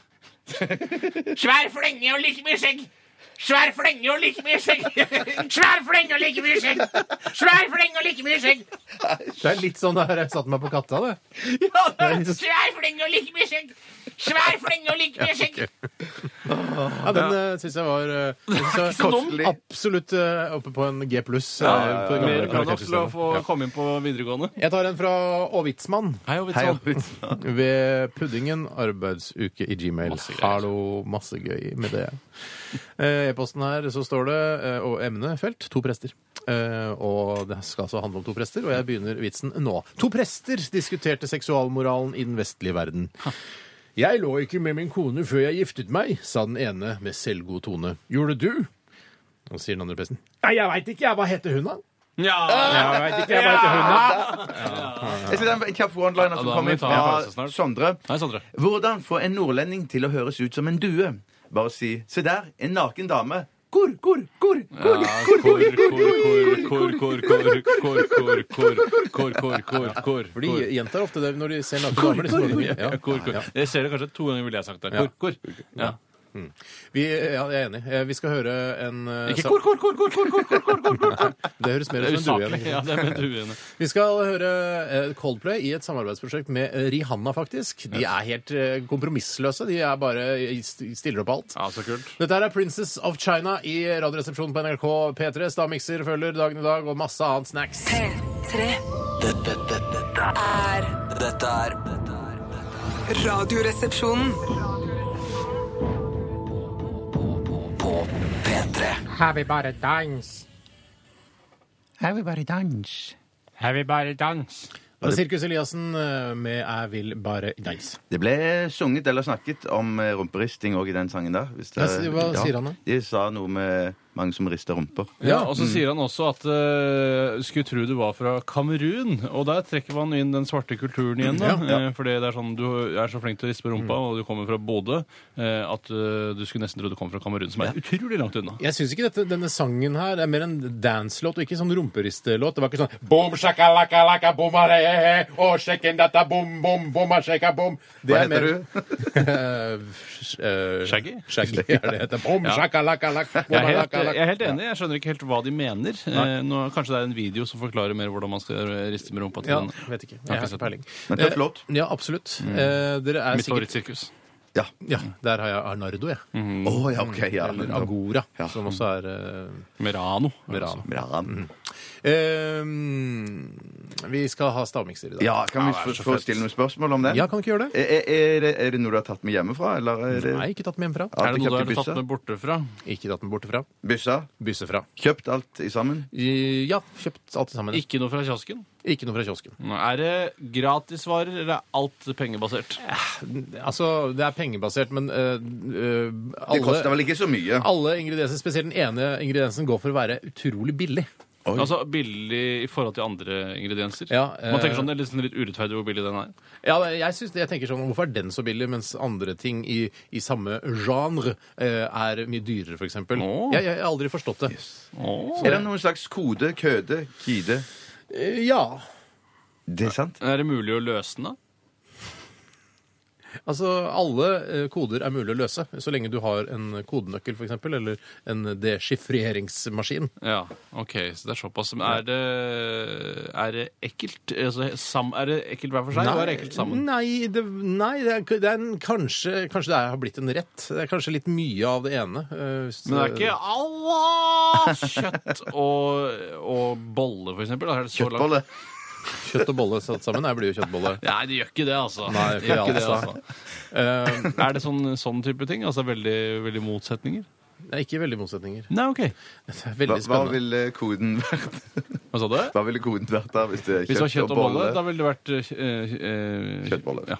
Svær flenge og like mye skjegg! Svær flenge og like mye skjegg! Svær flenge og like mye skjegg! Svær flenge og like mye skjegg!
Det er litt sånn der jeg satte meg på katta, det. Det er litt sånn-
Svær flenge og like mye skjegg! Svær flenge og like mye skjegg!
Ja, den uh, syns jeg var eh, jeg synes jeg var
Kostelig.
Absolutt eh, oppe på en G pluss. eh, på det gamle
Mer enn nok til å
karaktersystemet.
få komme inn på videregående.
Jeg tar en fra Aavitsmann
Hei,
Hei,
Ovitsan.
Jan.
ved Puddingen arbeidsuke i Gmail.
Masse greier.
Hallo, masse gøy med det. Eh, E-posten her så står det eh, og emnefelt to prester. Eh, og det skal altså handle om to prester, og jeg begynner vitsen nå. To prester diskuterte seksualmoralen i den vestlige verden. Jeg lå ikke med min kone før jeg giftet meg, sa den ene med selvgod tone. Gjorde du? Og sier den andre presten. Nei, jeg veit ikke, jeg. Hva heter hun, da?
Ja!
Jeg vet ikke, jeg. Hva heter hun, da?
Jeg skal ta en kjapp one-liner
Ja,
som
da må
kommer
vi ta en pause
fra
snart.
Sondre.
Hei, Sondre.
Hvordan få en nordlending til å høres ut som en due? Bare si 'se der, en naken dame'. Kor, kor, kor, kor, kor, kor, kor, kor.
For de gjentar ofte det når de ser nakne damer. de som bare- Ja, ja.
Jeg ser det kanskje to ganger, ville jeg sagt det.
Ja.
Kor, kor. Ja.
Vi, ja, jeg er enig. Eh, Vi skal høre en eh,
Ikke
sa-
kor, kor, kor, kor, kor, kor, kor, kor, kor, kor, kor.
Det høres mer
Det er
ut som en due.
usaklig.
enn-
Ja, det er med duene.
Vi skal høre eh, Coldplay i et samarbeidsprosjekt med eh, Rihanna, faktisk. De er helt eh, kompromissløse. De er bare i- stiller opp alt.
Ja, så kult.
Dette her er Princess of China i Radioresepsjonen på NRK P3. Stavmikser følger dagen i dag, og masse annet snacks.
P3
Dette, dette, dette
er
er- dette er dette er-
Radioresepsjonen.
på P3.
Det er Sirkus Eliassen eh, med Jeg vil bare danse.
Det ble sunget eller snakket om eh, rumperisting òg i den sangen der. Hvis
Hva sier- hva sier han da?
De sa noe med mange som rister rumper.
Ja, og så sier han også at eh, skulle tro du var fra Kamerun. Og der trekker man inn den svarte kulturen igjen. da.
Ja, Mm. ja.
Eh, Fordi det er sånn, du er så flink til å rispe rumpa, og du kommer fra Bodø, eh, at eh, du skulle nesten tro du kom fra Kamerun, som er utrolig langt unna.
Jeg syns ikke dette, denne sangen her er mer en dance-låt og ikke sånn rumperistelåt. Det var ikke sånn Boom, shakalaka, laka, boomare, oh, shaken, data, boom, boom, boom, shaka, boom. Det
Hva
er mer-
heter du?
Eh, sh- eh,
Shaggy?
Shaggy er det heter. Boom,
Ja.
shakalaka, laka,
Jeg er, helt,
boomalaka, laka.
jeg er helt enig. Jeg skjønner ikke helt hva de mener. Eh, Nå, kanskje det er en video som forklarer mer hvordan man skal riste med rumpa til
Ja,
den.
vet ikke.
Har
Jeg
ikke
har
sett
ikke peiling.
Men tøff låt. Mm.
Eh, Ja, absolutt. Eh, dere er
Mitt
sikkert
favorittsirkus.
Ja.
Ja, der har jeg Arnardo, jeg.
Mm.
Å ja, OK. Ja.
Eller Agora,
Mm. Ja. altså.
som også er eh,
Merano.
Verano.
Bra.
Mm.
Eh, vi skal ha stavmikser i dag.
Ja, kan vi få-
så
få
fett.
stille noen spørsmål om det?
Ja, kan vi ikke gjøre det?
Er, er- er, det- er det noe du har tatt med hjemmefra, eller er det
Nei, ikke tatt med hjemmefra.
Er det noe du har
Kjøpte
tatt
bysse?
med bortefra?
Ikke tatt den bortefra.
byssa?
Byssefra.
Kjøpt alt i sammen?
I- Ja, kjøpt alt sammen.
Ikke noe fra kiosken?
Ikke noe fra kiosken.
Er det gratisvarer, eller er alt pengebasert?
Altså, det er pengebasert, men eh, eh,
Det koster
alle
vel ikke så mye?
alle ingredienser, spesielt den ene ingrediensen, går for å være utrolig billig.
Oi.
Altså billig i forhold til andre ingredienser?
Ja, eh,
Man tenker sånn, Det er litt sånn litt urettferdig hvor billig den er.
Ja, jeg, synes, det- jeg tenker sånn, Hvorfor er den så billig, mens andre ting i, i samme genre eh, er mye dyrere, f.eks.?
Åh.
Jeg, jeg har aldri forstått det.
Er det noen slags kode, køde, kide?
Eh, ja.
Det er sant?
Er det mulig å løse den, da?
Altså, alle eh, koder er mulig å løse, så lenge du har en kodenøkkel, f.eks., eller en dechiffreringsmaskin.
Ja, OK, så det er såpass. Men er det, er det ekkelt? Altså, sam, er det ekkelt hver for seg, og er det ekkelt sammen?
Nei, det, nei det er, det er en, kanskje, kanskje det er, har blitt en rett. Det er kanskje litt mye av det ene. eh, hvis
Men det er ikke Allah! Kjøtt og, og bolle, for eksempel. Da er det så langt-
Kjøttbolle?
Kjøtt og bolle satt sammen. Nei, det blir jo kjøttbolle.
Nei, det gjør ikke det, altså.
Nei,
Det gjør ikke det,
altså.
altså.
Eh,
Er det sånn, sånn type ting? Altså veldig, veldig motsetninger?
det er ikke veldig motsetninger.
Nei, OK.
Det er
Hva,
veldig
hva
spennende.
ville koden vært?
Hva sa du?
Hva ville koden vært da hvis det er
Hvis det var
kjøtt og bolle?
da ville det vært eh, eh,
Kjøttbolle.
Ja.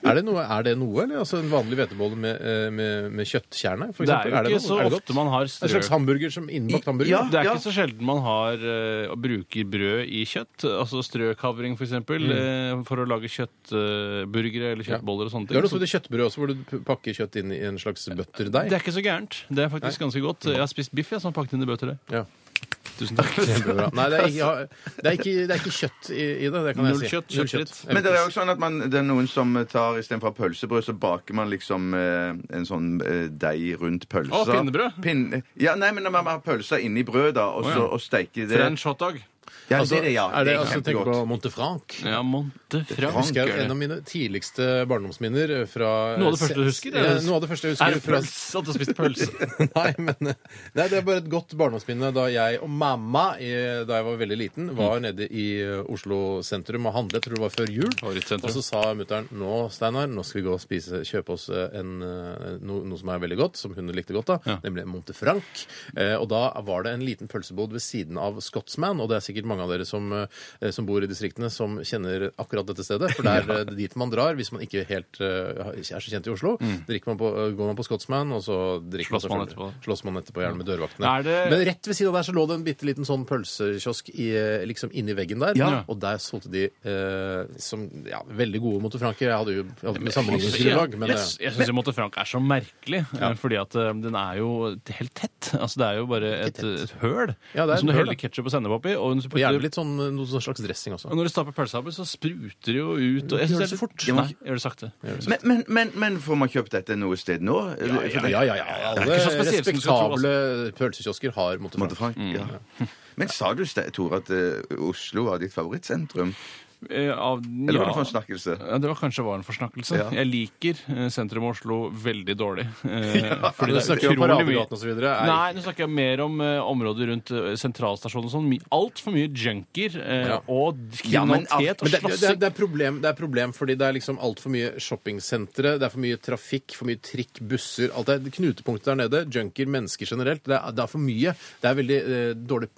Er det noe, er det noe eller? Altså, en vanlig hvetebolle med, eh, med, med kjøttkjerne, for
Det er
eksempel?
jo ikke
noe?
så
Er det godt?
ofte man har
En
strø
slags hamburger som innbakt hamburger?
Ja.
Det er ikke så sjelden man har eh, og bruker brød i kjøtt. Altså strøkavring, for eksempel,
Mm.
eh, for å lage kjøttburgere eh, eller kjøttboller og sånne
Du har
ting.
noe som heter kjøttbrød også, hvor du p- pakker kjøtt inn i en slags butterdeig.
det er ikke så gærent. Det er faktisk ganske godt. Jeg har spist biff jeg, som er pakket inn i bøter.
Ja.
Tusen takk.
Kjempebra. Nei, det er ikke, ja, det er ikke, det er ikke kjøtt i, i det. det kan jeg
Null
si.
kjøtt, kjøttfritt.
Men det er jo sånn at man, det er noen som eh, tar istedenfor pølsebrød, så baker man liksom eh, en sånn eh, deig rundt pølsa.
Å, pinnebrød?
Pin, ja, nei, men når man har pølsa inni brød, da, og,
Å, ja.
så, og steiker det
French hotdog.
Ja,
Altså,
det er det, ja.
er det, altså, tenk på
kjempegodt.
Montefranc.
Ja, Montefranc.
Husker jeg
Frank,
en av mine tidligste barndomsminner fra
Noe av det første du husker?
Ja, noe av det første jeg
Er
husker
det pølse? At du har spist pølse?
Nei, men nei, det er bare et godt barndomsminne da jeg og mamma, eh, da jeg var veldig liten, var
Mm.
nede i eh, Oslo sentrum og handlet, tror det var før jul.
Favorittsentrum.
Og så sa mutter'n nå, Steinar, nå skal vi gå og spise, kjøpe oss eh, en, eh, no, noe som er veldig godt, som hun likte godt, da,
Ja.
nemlig Montefranc. Eh, og da var det en liten pølsebod ved siden av Scotsman, og det er sikkert mange av dere som, eh, som bor i distriktene, som kjenner akkurat dette stedet. For det er eh, dit man drar hvis man ikke helt eh, er så kjent i Oslo.
Mm.
Drikker man på, eh, går man på Scotsman, og så drikker
Slåss man
selvfølgelig-
etterpå.
Slåss man etterpå gjerne med dørvaktene.
Er det-
Men rett ved siden av der så lå det en bitte liten sånn pølsekiosk i, eh, liksom inni veggen der,
Ja.
og der solgte de eh, som ja, veldig gode motorfranker. Jeg hadde jo jeg hadde med sammenligningsgrunnlag, men
Jeg,
eh,
jeg syns Monte Frank er så merkelig, eh, fordi at eh, den er jo helt tett. Altså, det er jo bare et,
tett.
et høl
Ja, det er
som
et
du
høl,
heller
da.
ketsjup og sennep oppi. Og, når du
og
putter-
gjerne litt sånn noe sånn slags dressing også.
og når du stapper pølsa oppi, så spruter det jo ut. Og jeg
Gjør
synes
det
er
så fort.
litt- Nei, jeg gjør det sakte.
Men, men, men, men får man kjøpt dette noe sted nå?
Ja, ja, ja. ja.
Det er
Alle
ikke så spesielt som du altså. skulle tro,
respektable pølsekiosker har
Måtte
motorfrank.
Frank,
Mm.
ja. Men sa du, Ste- Tore, at eh, Oslo var ditt favorittsentrum?
Eh, Av,
Eller var det
ja.
forsnakkelse?
Ja, det var kanskje var en forsnakkelse.
Ja.
Jeg liker eh, sentrum av Oslo veldig dårlig. Eh, Fordi
Du
det er
snakker
utrolig mye
om Paradegaten og så videre. Er-
Nei, nå snakker jeg mer om eh, området rundt eh, sentralstasjonen og sånn. My- Altfor mye junkier eh,
Ja.
og
Ja, men alt-
kriminalitet
Men
og
det, det, er-
slåssing.
det, er problem, det er problem fordi det er liksom altfor mye shoppingsentre, det er for mye trafikk, for mye trikk, busser alt det, Knutepunktet der nede, junkier, mennesker generelt, det er, det er for mye. Det er veldig eh, dårlig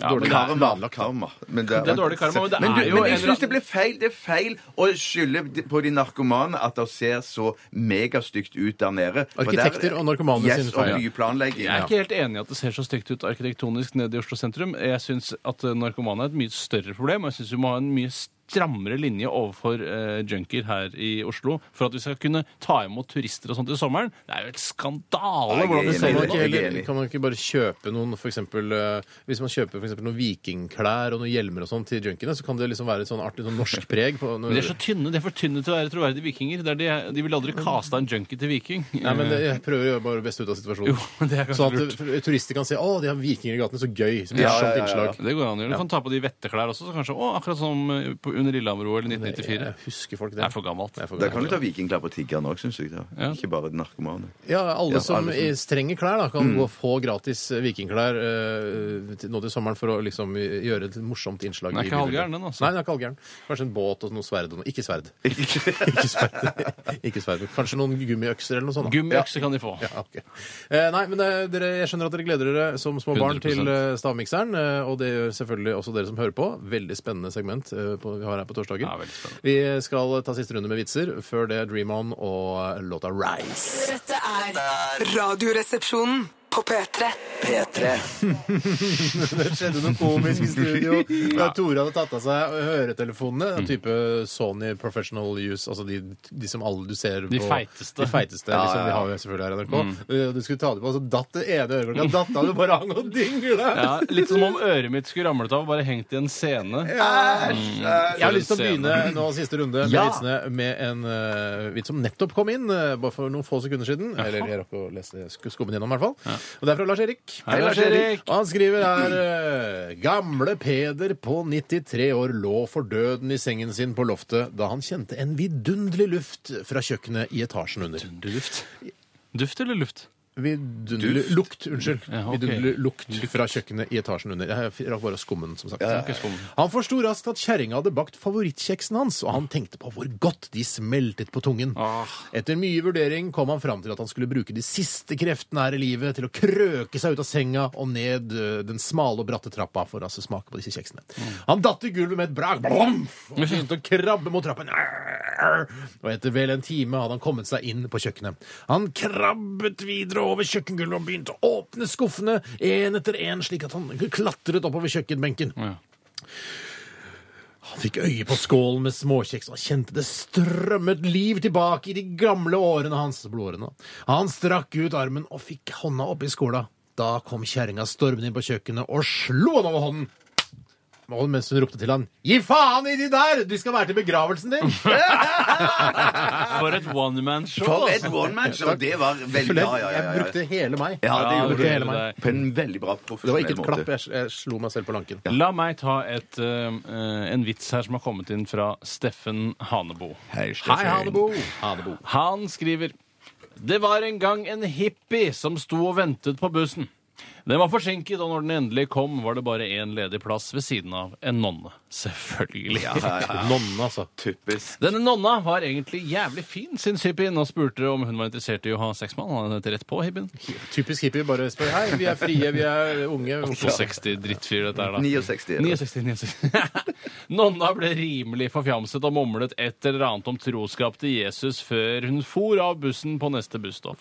Ja, men
dårlig
det er-
Karma. karma. Men det,
Det er dårlig karma, men det
men,
er
du,
jo
men
en
jeg syns
eller
det blir feil. Det er feil å skylde de- på de narkomane at det ser så megastygt ut der nede. For
Arkitekter
der-
og narkomane
yes,
sine
feil.
feil.
Og byplanlegging.
Jeg er ikke helt enig i at det ser så stygt ut arkitektonisk nede i Oslo sentrum. Jeg syns at eh, narkomane er et mye større problem, og jeg syns vi må ha en mye strammere linje overfor eh, junkier her i Oslo for at vi skal kunne ta imot turister og sånt i sommeren. Det er jo helt skandale
Jeg er
hvordan det ser
Kan man,
enig.
ut nå.
ikke
Jeg er
heller,
enig.
kan man ikke bare kjøpe noen for eksempel, eh, Hvis man kjøper for eksempel noen vikingklær og noen hjelmer og sånn til junkiene, så kan det liksom være et sånn artig sånn norsk preg på noe-
Men De er så tynne. De er for tynne til å være troverdige vikinger. Det er de, de ville aldri kasta en junkie til viking.
Nei, men jeg prøver å gjøre bare best ut av situasjonen.
Jo, men det er kanskje
sånn at eh, turister kan se å, de har vikinger i gatene, så gøy. Så morsomt
ja, ja, ja.
innslag.
Eh, Det går an å gjøre. Du kan ta på de vetteklær også, så kanskje, å, akkurat som eh, på- under Lillehammer-OL i 1994.
Jeg husker folk det.
Det er for gammelt.
Det er for
Da
gammelt.
kan du ta vikingklær på tiggeren òg, syns jeg. Da.
Ja.
Ikke bare de narkomane.
Ja, alle
Ja,
som
alle som- Mm.
i- trenger klær, da, kan gå og få gratis eh, vikingklær eh, til- nå til sommeren for å liksom gjøre et morsomt innslag.
Den er
i
ikke
bildet.
halvgæren, den, altså.
Nei, den er ikke halvgæren. Kanskje en båt og noe sverd og noe. Ikke sverd. ikke sverd. ikke sverd. Kanskje noen gummiøkser eller noe sånt. da.
Gummiøkse kan de få.
Ja, ok. Eh, nei, men eh, dere, jeg skjønner at dere gleder dere som små barn
100%.
til eh, stavmikseren. Eh, og det gjør selvfølgelig også dere som hører på. Veldig spennende segment eh, på, vi har her på torsdager.
Ja, veldig spennende.
vi skal ta siste runde med vitser. Før det Dream On og eh, låta Rise.
Dette er
Radioresepsjonen på P3.
P3
Det skjedde noe komisk i studio. Da Tore hadde tatt av seg høretelefonene. av Type Sony Professional Use, altså de, de som alle du ser på
De feiteste. Mm.
De feiteste, liksom, De har vi selvfølgelig her i NRK. Eh, Du skulle ta dem på, og så datt det ene øreklokka. Datt av, det bare hang og dingla!
Ja, litt som om øret mitt skulle ramlet av og bare hengt i en scene. Mm.
Jeg har lyst til å begynne nå siste runde med
Ja.
vitsene med en eh, vits som nettopp kom inn eh, bare for noen få sekunder siden. Eller jeg rakk å lese sk- skummen gjennom, i hvert fall. Og det er fra Lars Erik.
Hei, Lars-Erik.
Og han skriver her eh, Gamle Peder på 93 år lå for døden i sengen sin på loftet da han kjente en vidunderlig luft fra kjøkkenet i etasjen under.
Duft. Duft eller luft?
Vidunderlig
Duft?
lukt, unnskyld.
Ja, ok.
Vidunderlig lukt fra kjøkkenet i etasjen under. Jeg rakk bare å skumme den, som sagt.
Ikke skum.
Han forsto raskt at kjerringa hadde bakt favorittkjeksen hans, og han tenkte på hvor godt de smeltet på tungen.
Ah.
Etter mye vurdering kom han fram til at han skulle bruke de siste kreftene her i livet til å krøke seg ut av senga og ned ø, den smale og bratte trappa for å altså, smake på disse kjeksene. Han datt i gulvet med et brak blom, og begynte å krabbe mot trappen. Og etter vel en time hadde han kommet seg inn på kjøkkenet. Han krabbet videre over kjøkkengulvet og begynte å åpne skuffene én etter én, slik at han klatret oppover kjøkkenbenken.
Ja.
Han fikk øye på skålen med småkjeks og kjente det strømmet liv tilbake i de gamle årene hans. blodårene. Han strakk ut armen og fikk hånda oppi skåla. Da kom kjerringa stormende inn på kjøkkenet og slo han over hånden. Og mens hun ropte til han 'Gi faen i de der! Du skal være til begravelsen din!'
For et one-man-show!
For et one-match! Og det var veldig Ja, ja, ja.
Jeg
ja,
brukte hele meg.
ja det
Ja,
gjorde
det
hele meg.
gjorde det.
På en veldig bra
Det var ikke
profesjonell
et
måte.
klapp. Jeg, jeg slo meg selv på lanken.
La meg ta et, eh, en vits her som har kommet inn fra Steffen Hanebo.
Hei,
Hei, Hanebo. Hanebo.
Han skriver Det var en gang en hippie som sto og ventet på bussen. Den var forsinket, og når den endelig kom, var det bare én ledig plass ved siden av en nonne. Selvfølgelig.
Nonne, altså.
Typisk.
Denne nonna var egentlig jævlig fin, syns hippien, og spurte om hun var interessert i å ha sex med han. Han het rett på hippien.
Typisk hippie. Bare spør 'Hei, vi er frie, vi er unge'. Hvorfor
62 drittfyr dette er da.
69. eller?
69, 69. Nonna ble rimelig forfjamset og mumlet et eller annet om troskap til Jesus før hun for av bussen på neste busstopp.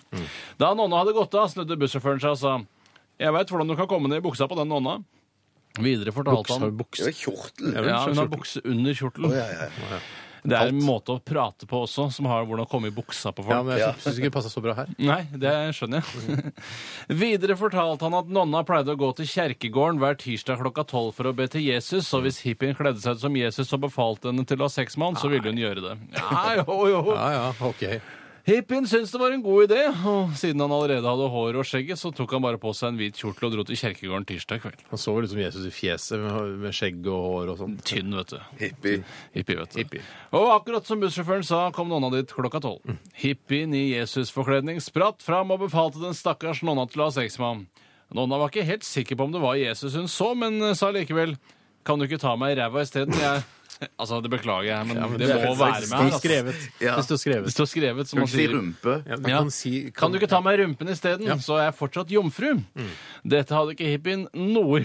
Da Nonna hadde gått av, snudde bussjåføren seg og sa Jeg veit hvordan du kan komme ned i buksa på den nonna. Videre fortalte han
Det var kjortel.
ja, hun har bukse under kjortelen. Det er en måte å prate på også, som har hvordan å komme i buksa på folk.
Ja, men jeg syns ikke det passa så bra her.
Nei, det skjønner jeg. Videre fortalte han at nonna pleide å gå til kjerkegården hver tirsdag klokka tolv for å be til Jesus, og hvis hippien kledde seg ut som Jesus og befalte henne til å ha sex med han, så ville hun gjøre det. Ja, jo, jo.
Ja, ja, ok.
Hippien syntes det var en god idé, og siden han allerede hadde håret og skjegget, så tok han bare på seg en hvit kjortel og dro til kjerkegården tirsdag kveld.
Han så vel ut som liksom Jesus i fjeset, med, med skjegg og hår og sånn.
Tynn, vet du.
Hippie.
Hippie, vet du. Og akkurat som bussjåføren sa, kom nonna dit klokka tolv. Hippien i Jesusforkledning spratt fram og befalte den stakkars nonna til å ha sex med ham. Nonna var ikke helt sikker på om det var Jesus hun så, men eh, sa likevel Kan du ikke ta meg i ræva isteden? Jeg Altså, det beklager jeg, men, det, må være med her.
Det står
ass.
skrevet.
Ja.
Det står
Det
skrevet.
står skrevet, som
Kan
man
du si
sier.
rumpe?
Ja, man
Ja.
Kan, si, kan,
Kan du ikke ta meg i rumpen isteden, så er jeg fortsatt jomfru? Dette hadde ikke hippien noe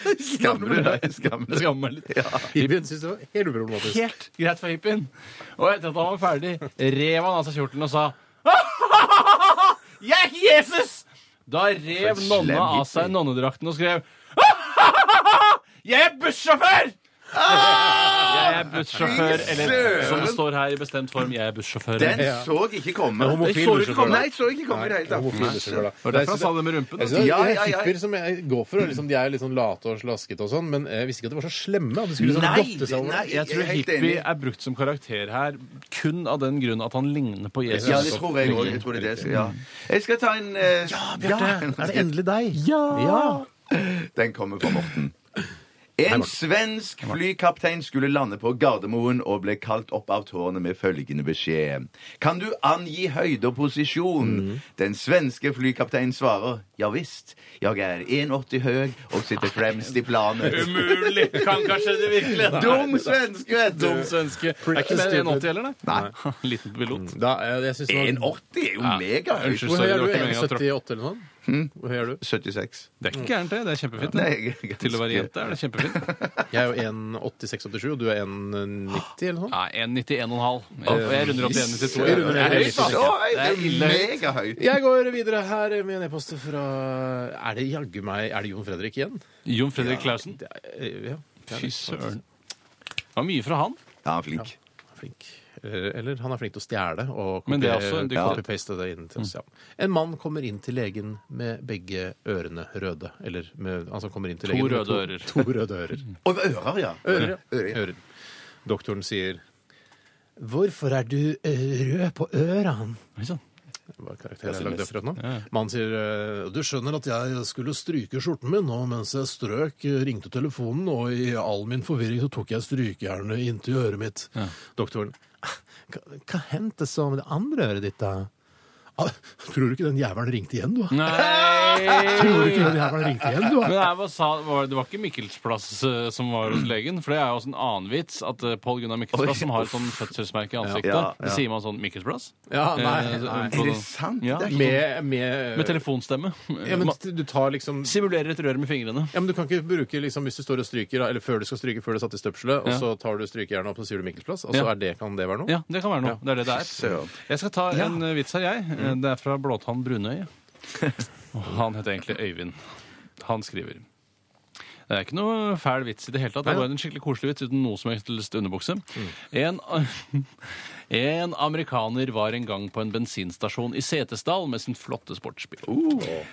Skammer du deg? Skammer
Jeg
du deg?
skammer meg litt.
Hippien syntes det var helt uproblematisk.
Helt greit for hippien. Og etter at han var ferdig, rev han av seg kjortelen og sa Jeg er ikke Jesus! Da rev
For en slem
nonna av seg
hippie.
nonnedrakten og skrev Jeg er bussjåfør!
Ah!
Jeg er bussjåfør, eller som det står her i bestemt form, jeg er bussjåfør.
Den så jeg ikke komme.
Det er homofil
Jeg så ikke
bussjåfør,
komme.
da.
Nei, jeg så ikke komme i det hele
Homofil bussjåfør, da.
tatt.
var derfor han sa det med rumpen.
Jeg
da.
synes det er
Ja, ja, ja.
hippier som jeg går for, og liksom, de er litt sånn late og slaskete og sånn, men jeg visste ikke at de var så slemme. At de skulle liksom
Nei,
godte seg over
nei,
det.
Jeg tror
er helt
hippie
enig.
er brukt som karakter her kun av den grunn at han ligner på Jesus.
Ja, det tror jeg òg. Jeg tror det er det. jeg skal- Ja. Jeg skal ta en eh, Ja,
Er det endelig deg?
Den kommer fra Morten. En svensk flykaptein skulle lande på Gardermoen og ble kalt opp av tårnet med følgende beskjed. Kan du angi høyde og posisjon?
Mm.
Den svenske flykapteinen svarer ja visst. Jeg er 1,80 høy og sitter fremst i planet.
Umulig! Kan kanskje det virkelig?
Dum svenske, vet
Dum
du!
svenske. Er ikke mer enn 80 heller, nei? nei. Liten pilot.
Da, eh, jeg, jeg synes det var...
1,80 er jo megahøyt.
Unnskyld,
Hvor høy
sorry.
er
Det
du?
var ikke meningen å tråkke. Hmm?
1,78 eller noe sånt? Hvor høy er du?
76.
Det er ikke gærent, det. Det er kjempefint.
Nei,
Det.
jeg er
Til å være
ganske-
jente er det kjempefint.
Jeg er jo 1,86-87, og du er 1,90 eller noe sånt?
Nei, 1,91,5. Jeg jeg runder opp til 1,92.
Jeg runder
Det er
opp
høyt,
til
altså.
Så høyt!
Det er
Det
ille
er
høyt.
megahøyt.
Jeg går videre her med en e-post fra Er det jaggu meg Er det Jon Fredrik igjen?
Jon Fredrik Clausen.
Det
eh,
er, ja,
Fy søren. Det var mye fra han.
Ja, han er flink.
flink. Eh, Eller han er flink til å stjele og
Men det er også en Mm.
kopiere-
dyktighet.
copy-paste det inn til oss. Ja. En mann kommer inn til legen med begge ørene røde. Eller med, altså kommer inn til
To
legen med
røde ører. Mm.
To, to røde ører.
Og ører, ja.
Ører,
Ører,
ja. Ører. Doktoren sier Hvorfor er du eh, rød på ørene?
Oi sann.
Hva karakter jeg lagde akkurat nå? Mannen sier eh, Du skjønner at jeg skulle stryke skjorten min, og mens jeg strøk, eh, ringte telefonen, og i all min forvirring så tok jeg strykejernet inntil øret mitt. Doktoren Hva, hva hendte så med det andre øret ditt, da? «Ah, Tror du ikke den jævelen ringte igjen, du? da?» Tror du
Nei!
ikke den jævelen ringte igjen, du?
Men
da?»
her var, sa, var, det var ikke Mikkelsplass eh, som var hos legen, for det er jo også en annen vits at eh, Paul Gunnar Mikkelsplass, som har et sånn fødselsmerke i ansiktet,
Ja, ja.
det sier man sånn Mikkelsplass.
Ja,
Eh, så-
nei,
på-
Er det sant?
Ja.
Det er ikke-
Med, med,
Med telefonstemme.
ja, men
Man
Du tar liksom
simulerer et rør med fingrene.
Ja, men Du kan ikke bruke liksom, hvis du står og stryker, da, eller før du skal stryke, før du er satt i støpselet, og
Ja.
så tar du strykejernet opp og så sier du Mikkelsplass. Altså,
Ja.
er det, kan det være noe?
Ja, det kan være noe. Det er det det er.
Søren.
Jeg skal ta en eh, vits her, jeg. Eh, Det er fra Blåtann Brunøy. Og Han heter egentlig Øyvind. Han skriver det er ikke noe fæl vits i det hele tatt. Det er bare en skikkelig koselig vits uten noe som helst underbukse. En, en amerikaner var en gang på en bensinstasjon i Setesdal med sin flotte sportsbil.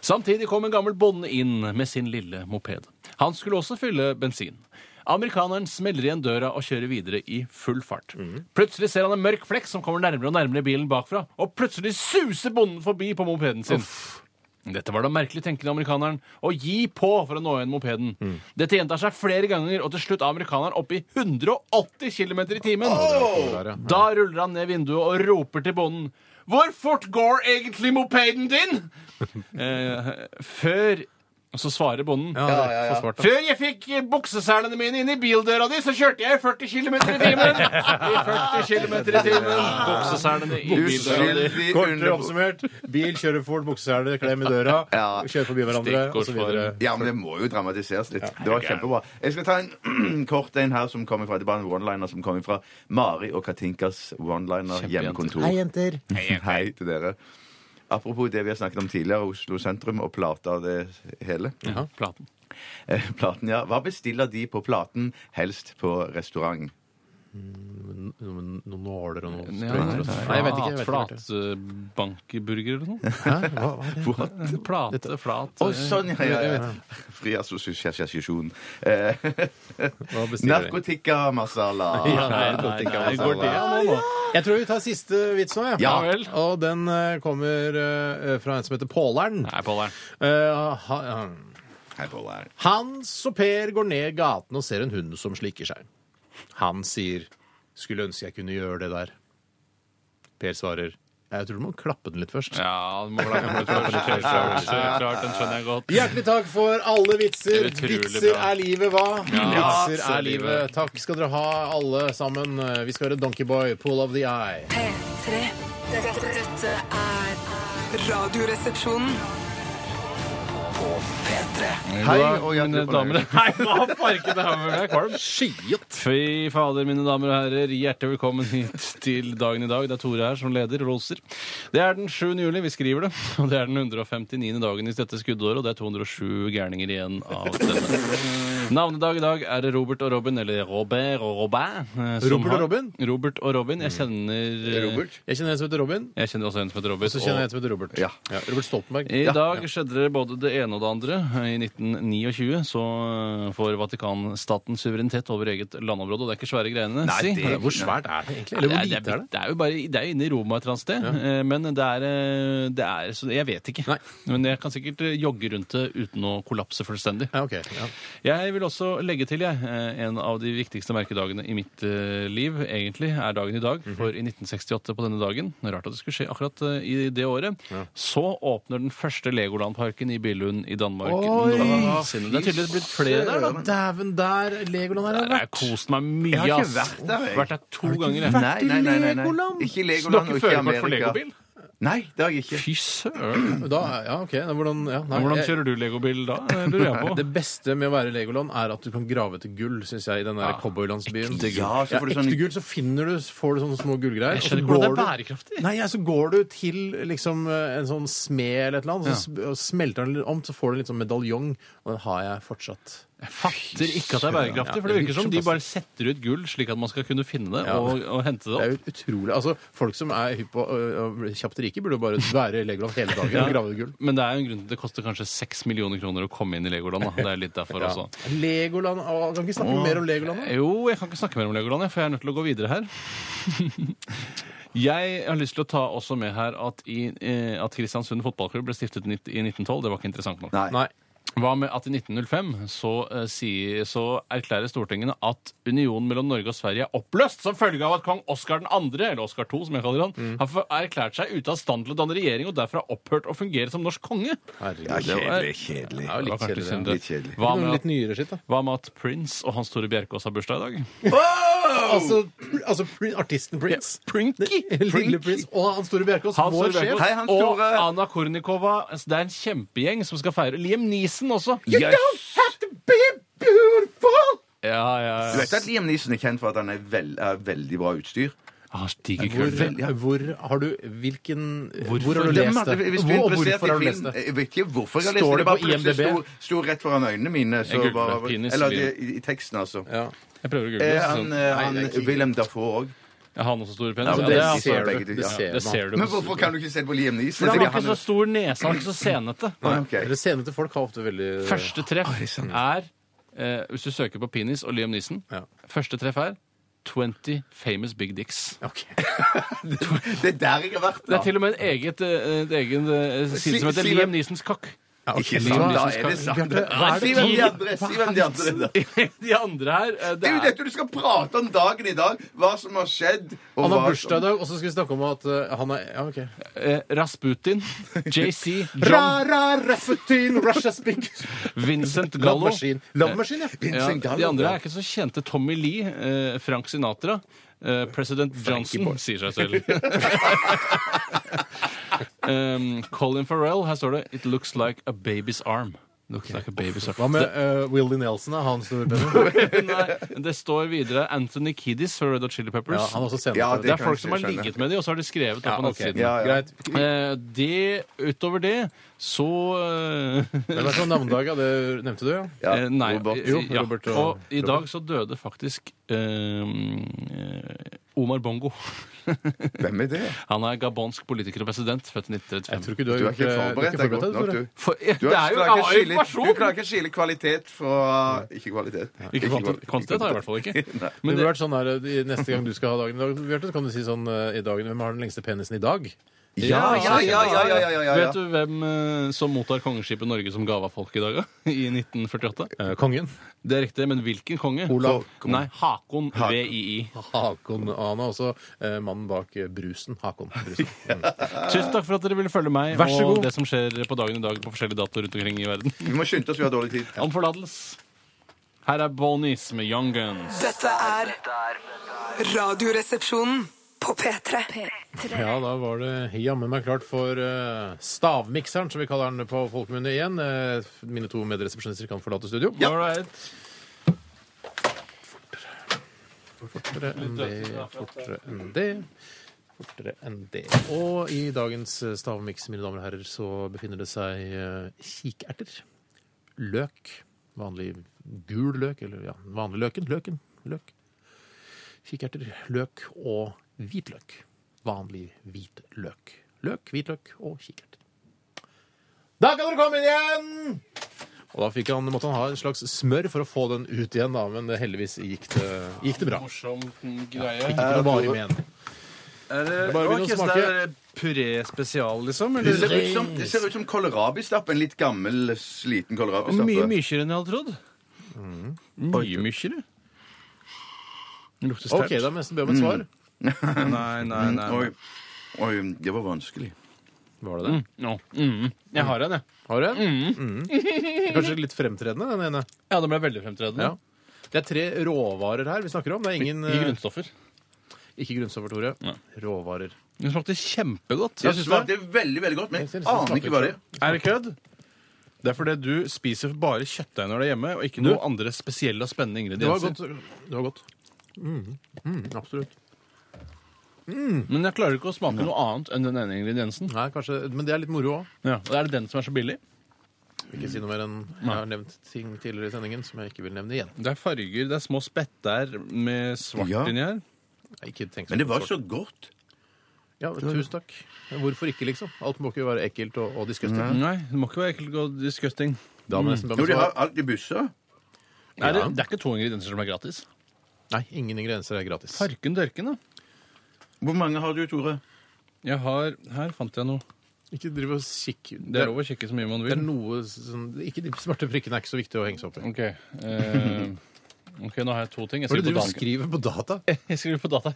Samtidig kom en gammel bonde inn med sin lille moped. Han skulle også fylle bensin. Amerikaneren smeller igjen døra og kjører videre i full fart. Plutselig ser han en mørk flekk som kommer nærmere og nærmere bilen bakfra, og plutselig suser bonden forbi på mopeden sin. Dette var da merkelig tenkende amerikaneren å gi på for å nå igjen mopeden. Dette gjentar seg flere ganger, og til slutt er amerikaneren oppe i 180 km i timen.
Der, ja.
Da ruller han ned vinduet og roper til bonden Hvor fort går egentlig mopeden din? eh, før Og så svarer bonden
Ja, ja, ja. Svart, da.
Før jeg fikk bukseselene mine inn i bildøra di, så kjørte jeg 40 km i timen! I 40 km i timen. Bukseselene i bildøra di.
Uskyldig
Kortere
under...
oppsummert. Bil, kjører fort, bukseseler, klem i døra,
Ja.
kjører forbi hverandre
Stikkord
osv.
for-
Ja, men det må jo dramatiseres litt. Det var kjempebra. Jeg skal ta en kort en her som kommer fra, det er bare en one-liner som kommer fra Mari og Katinkas one-liner hjemmekontor. Hei, jenter. Hei til dere. Apropos det vi har snakket om tidligere, Oslo sentrum og plata og det hele.
Ja, platen.
Eh, Platen, ja. Hva bestiller de på platen, helst på restaurant?
Noen noen nåler og noe
Ja,
sprøyter og sånn. Nei, jeg vet ikke. Jeg vet ikke. hva det er.
Flatbankeburger eller noe?
Hæ? Hva, hva er det?
Plate, flat
Å, sånn, ja, ja, ja. Fri assosiasjon. Eh,
Hva bestiller de?
Narkotikamasala.
Ja, nei, nei, nei, går det
an nå, nå?
Jeg tror vi tar siste vits nå, jeg.
Ja vel.
Og den eh, kommer eh, fra en som heter Pålern.
Nei, Pålern.
Eh, ha- han-
Hei, Pål.
Hans og Per går ned gaten og ser en hund som slikker seg. Han sier, 'Skulle ønske jeg kunne gjøre det der'. Per svarer, 'Jeg tror du må klappe den litt først'.
Ja, du må klare det. Klart, klart, den skjønner jeg godt.
Hjertelig takk for alle vitser.
Utrolig
Vitser
bra.
er livet, hva?
Ja,
vitser
vitser er
er livet. Takk skal dere ha, alle sammen. Eh, Vi skal høre Donkeyboy, 'Pull of the Eye'.
P3. Dette, dette er Radioresepsjonen.
På P3
Hei og hjertelig
mine damer Nei, hva farken det her med meg, kvalm? Skiet! Fy fader, mine damer og herrer. Hjertelig velkommen hit til dagen i dag. Det er Tore her som leder og loser. Det er den 7. juli, vi skriver det. Og det er den 159. dagen i dette skuddåret, og det er 207 gærninger igjen av denne. Navnedag i dag er det Robert og Robin, eller Robert og Robin. eh, som
Robert og
har-
Robin?
Robert og Robin. Jeg kjenner eh,
Robert.
Jeg kjenner en som heter Robin.
Jeg kjenner også en som heter Robert.
Så kjenner jeg en som heter Robert.
Ja.
Robert Stoltenberg.
I dag skjedde det både det ene og det andre. I 1929 så eh, får Vatikanstaten suverenitet over eget landområde, og det er ikke svære greiene.
Nei,
si.
det
Ja, Hvor svært er det egentlig? Eller
Nei,
hvor
det,
lite
er,
er det?
det er jo bare det er jo inne i Roma et eller annet sted. eh, Men det er, eh, det er så Jeg vet ikke.
Nei.
Men jeg kan sikkert eh, jogge rundt det uten å kollapse fullstendig.
Ja, ok. Ja.
Jeg vil også legge til, jeg, eh, en av de viktigste merkedagene i mitt eh, liv, egentlig, er dagen i dag.
Mhm.
For i 1968 på denne dagen, rart at det skulle skje akkurat eh, i det året, så åpner den første Legoland-parken i Billund i Danmark.
Oi!
noensinne. Det er tydeligvis blitt flere der, da.
Ja, Dæven, der Legoland
Der
her har
har jeg
vært!
kost meg mye,
Jeg har ikke
ass.
vært der, jeg.
Vært der to ganger, jeg.
Nei, nei, nei, nei, nei.
Legoland?
Så
Ikke
du har
Legoland
ikke
og ikke
førerkort for
Amerika.
legobil?
Nei, det har jeg ikke.
Fy søren.
Da, ja, ok. Da, hvordan, ja, nei,
Hvordan
jeg-
kjører du legobil da? Det lurer jeg
Det
på.
beste med å være i Legoland er at du kan grave etter gull, syns jeg, i den der
Ja.
cowboylandsbyen.
Ekte gull. Ja, så får du
ekte
sånn-
gull, så finner du, får du sånne små gullgreier.
altså,
Jeg skjønner
og så
ikke hvordan det
går
er
du-
bærekraftig.
Nei, ja, så går du til liksom eh, en sånn smed eller et eller annet, så sp- og smelter den litt om, så får du en litt sånn medaljong, og den har jeg fortsatt.
Jeg fatter ikke at det er bærekraftig.
Ja,
For det
det
virker som
virker
de
såpass.
bare setter ut gull slik at man skal kunne finne det
Ja.
og, og hente det
Det er
opp.
jo utrolig. Altså, folk som er hypp på å å bli kjapt rike, burde jo bare være i Legoland hele dagen og grave gull.
Men det er jo en grunn til at det koster kanskje 6 millioner kroner å komme inn i Legoland. Da. Det er litt derfor
Ja.
også.
Legoland å, Kan vi ikke snakke mer om Legoland? da?
Jo, jeg kan ikke snakke mer om Legoland, jeg, for jeg er nødt til å gå videre her. Jeg har lyst til å ta også med her at, i, eh, at Kristiansund fotballklubb ble stiftet i nitt- i 1912. Det var ikke interessant nok.
Nei.
Nei.
Hva med at i 1905 så, eh, sier, så erklærer Stortingene at unionen mellom Norge og Sverige er oppløst som følge av at kong Oskar 2., eller Oskar 2, som jeg kaller han, har for- erklært seg ute av stand til å danne regjering og derfor har opphørt å fungere som norsk konge.
Herregud.
Ja,
det var-
kjedelig, kjedelig.
Ja,
Det
litt
var kanskje
kjedelig,
synd,
ja.
det.
Litt kjedelig.
Hva
Noe
med,
litt
at,
nyere skitt, da.
hva med at Prince og Hans Tore Bjerkås har bursdag i dag?
Altså, altså Prin- artisten Prince.
Prinky!
Lille Prince og han store Bjerkås,
Hans
vår
Tore Bjerkås
sjef.
Hei, Hans
og
Tore.
Anna Kornikova. altså, Det er en kjempegjeng som skal feire. Liam Neeson også.
Yes.
Ja, ja,
Du
ja.
vet at Liam Neeson er kjent for at han er vel, er veldig bra utstyr?
Han har diger
Hvor,
krøller.
hvor har du Hvilken Hvor,
Hvorfor?
har du
Dem
lest
hadde-
det?
Hvis
Hvor,
vi
og
interessert
hvorfor
i
har du lest
film
det?
Jeg vet ikke hvorfor jeg har lest
Står det
det. Det bare
på
plutselig
IMDb?
sto, sto rett foran øynene mine. Så
googler
bare,
penis,
eller
Liam.
i, i teksten, altså.
Ja.
Jeg prøver å google.
Eh,
så-
han eh, han
Nei, det er ikke-
William Dafoe òg.
Jeg har han også store penis.
Ja,
Ja,
men
det,
det
er
ser
altså-
du.
det,
begge de, ja.
ser
ser,
man.
du.
Men hvorfor kan du ikke se på Liam Neeson?
For han har
Fordi
ikke så stor nese, han har ikke så senete.
han- Ok.
Eller senete folk har ofte veldig
Første treff
sånn,
er eh, Hvis du søker på penis og Liam Neeson
Ja.
Første treff er 20 famous big dicks.
Ok.
Det er der jeg har vært.
Det er til og med en eget, eh, et egen eh, side som heter
Si- si-
Liam Neesons kakk.
Ja, ok.
Ikke
Hva-
sant? Da er det sant.
Bjarte, hva er
Si
det
hvem
tid-
de andre si hvem de andre er.
De andre her eh,
Det
det
er jo
er,
dette du skal prate om dagen i dag. Hva som har skjedd.
Han
og
har
hva som-
bursdag i dag, og så skal vi snakke om at eh, han er Ja, OK.
eh, Rasputin, JC,
Ra,
John,
ra, Rasputin, Russia speak.
Vincent
Love
Gallo.
Machine. Love Machine, ja.
Ja,
Vincent Gallo,
de andre
ja.
er ikke så kjente. Tommy Lee, eh, Frank Sinatra, eh, President Johnson sier seg selv. um, Colin Farrell, her står det 'It looks like a baby's arm'. Looks like a baby's arm.
Hva med eh, Willie Nelson, da? Han store pennen?
Det, nei, det står videre Anthony Kiddis fra Red Hot Chili Peppers.
Ja, han er også senere.
Ja,
det er
kan
folk
jeg
som har
skjønne.
ligget med de, og så har de skrevet det på
Ja, ok.
nettsiden.
Ja, ja.
Greit.
Eh, det, utover det, så eh,
Hvem er det som har navnedag? ja? Det nevnte du, ja?
Ja,
Eh, nei,
Robert.
eh,
Jo,
ja.
Robert
og,
og-
i dag så døde faktisk eh, eh, Omar Bongo.
Hvem er det?
Han er gabonsk politiker og president, født i
Jeg
1935.
tror ikke du har
Du er
gjort
ikke
eh, du er
forberedt deg godt nok,
Tore.
du.
For, eh,
Du
det
har-
er jo
klarer ikke å
annen
skille- Du
informasjon!
klarer ikke å skille kvalitet fra Ikke kvalitet.
Ikke kvanti- kvantitet har jeg i hvert fall ikke.
Men
Men
det
det,
burde vært sånn her, i- Neste gang du skal ha dagen i dag, Bjarte, så kan du si sånn eh, i dagen, Hvem har den lengste penisen i dag?
Ja, ja, ja, ja, ja, ja, ja, ja.
vet du hvem eh, som mottar kongeskipet Norge som gave av folk i dag, da? I 1948?
Eh, kongen.
Det er riktig, men hvilken konge?
Olav.
Nei, Hakon VII.
Hakon. Og Han er også eh, mannen bak eh, brusen. Hakon. Brusen. Mm.
Tusen takk for at dere ville følge meg
Vær så
og
god.
det som skjer på dagen i dag på forskjellige datoer rundt omkring i verden.
Vi må skynde oss, vi har dårlig tid.
Om forlatelse. Her er Bonis med Young Guns.
Dette er Radioresepsjonen.
på P3.
P3.
Ja, da var det jammen meg klart for eh, Stavmikseren, som vi kaller den på folkemunne igjen. Eh, mine to medresepsjonister kan forlate studio.
Ja. Right.
Fortere enn det, fortere enn det. Fortere enn det. Og i dagens eh, stavmiks, mine damer og herrer, så befinner det seg eh, kikerter. Løk. Vanlig gul løk, eller ja, vanlig løken. Løken. Løk. Kikerter, løk og hvitløk. Vanlig hvitløk. Løk, hvitløk og kikerter. Da kan dere komme inn igjen! Og da fikk han, måtte han ha en slags smør for å få den ut igjen, da, men heldigvis gikk det, gikk det bra.
Morsom greie.
Ikke noe varig med den.
Er det,
er Eh, bare å
Å,
begynne å
Chris,
smake.
det er puré spesial, liksom?
Det
Eller?
ser ut som, det ser ut som kålrabistappe. En litt gammel, sliten
Og mye
kålrabistappe.
mykere enn jeg hadde trodd.
Mm.
Mye mykere.
Det lukter eh,
OK,
sterkt.
da må jeg nesten be om
Mm.
et svar.
Nei, nei, nei.
Oi. Oi, det var vanskelig.
Var
Mm.
det det?
Nå. Mhm. Jeg har en, jeg.
Har du? Mm. Kanskje litt fremtredende, den ene.
Ja, det ble veldig fremtredende.
Ja. Det er tre råvarer her vi snakker om. Det er ingen
I grunnstoffer.
eh, Ikke grunnstoffer, Tore. Råvarer.
Den smakte kjempegodt.
Det smakte veldig, veldig godt, men
Jeg
jeg
synes det
aner ikke hva det er.
Er det kødd? Det er fordi du spiser bare kjøttdeig når du er hjemme, og ikke noe andre spesielle og spennende
Det var
ingredienser.
godt. Det var godt. Mm. Mm, absolutt.
Men jeg klarer ikke å smake noe annet enn den ene ingrediensen.
Nei, kanskje, men det er litt moro òg.
Ja. og Er det den som er så billig?
Vil ikke si noe mer enn jeg har nevnt ting tidligere i sendingen som jeg ikke vil nevne igjen.
Det er farger, det er små spetter med svart
Ja.
inni her.
Jeg har Ikke tenkt
Men det
på
var
sort.
så godt.
Ja, Tusen takk. Hvorfor ikke, liksom? Alt må ikke være ekkelt og, og disgusting.
Nei, det må ikke være ekkelt og disgusting.
Da må jeg nesten be om
Mm. Jo,
et
de har
svar.
alt i busser.
Nei, det, det er ikke to ingredienser som er gratis.
Nei, ingen ingredienser er gratis.
Farken dørken, da.
Hvor mange har du, Tore?
Jeg har Her fant jeg noe.
Ikke driv og kikk.
Det er lov å kikke så mye man
Det er
vil.
noe sånn, ikke De svarte prikkene er ikke så viktig å henge seg opp i.
OK. eh, ok, nå har jeg to ting. Jeg
Hva er det
skriver
du
Mm. på data.
skriver på data?
Jeg skriver på data.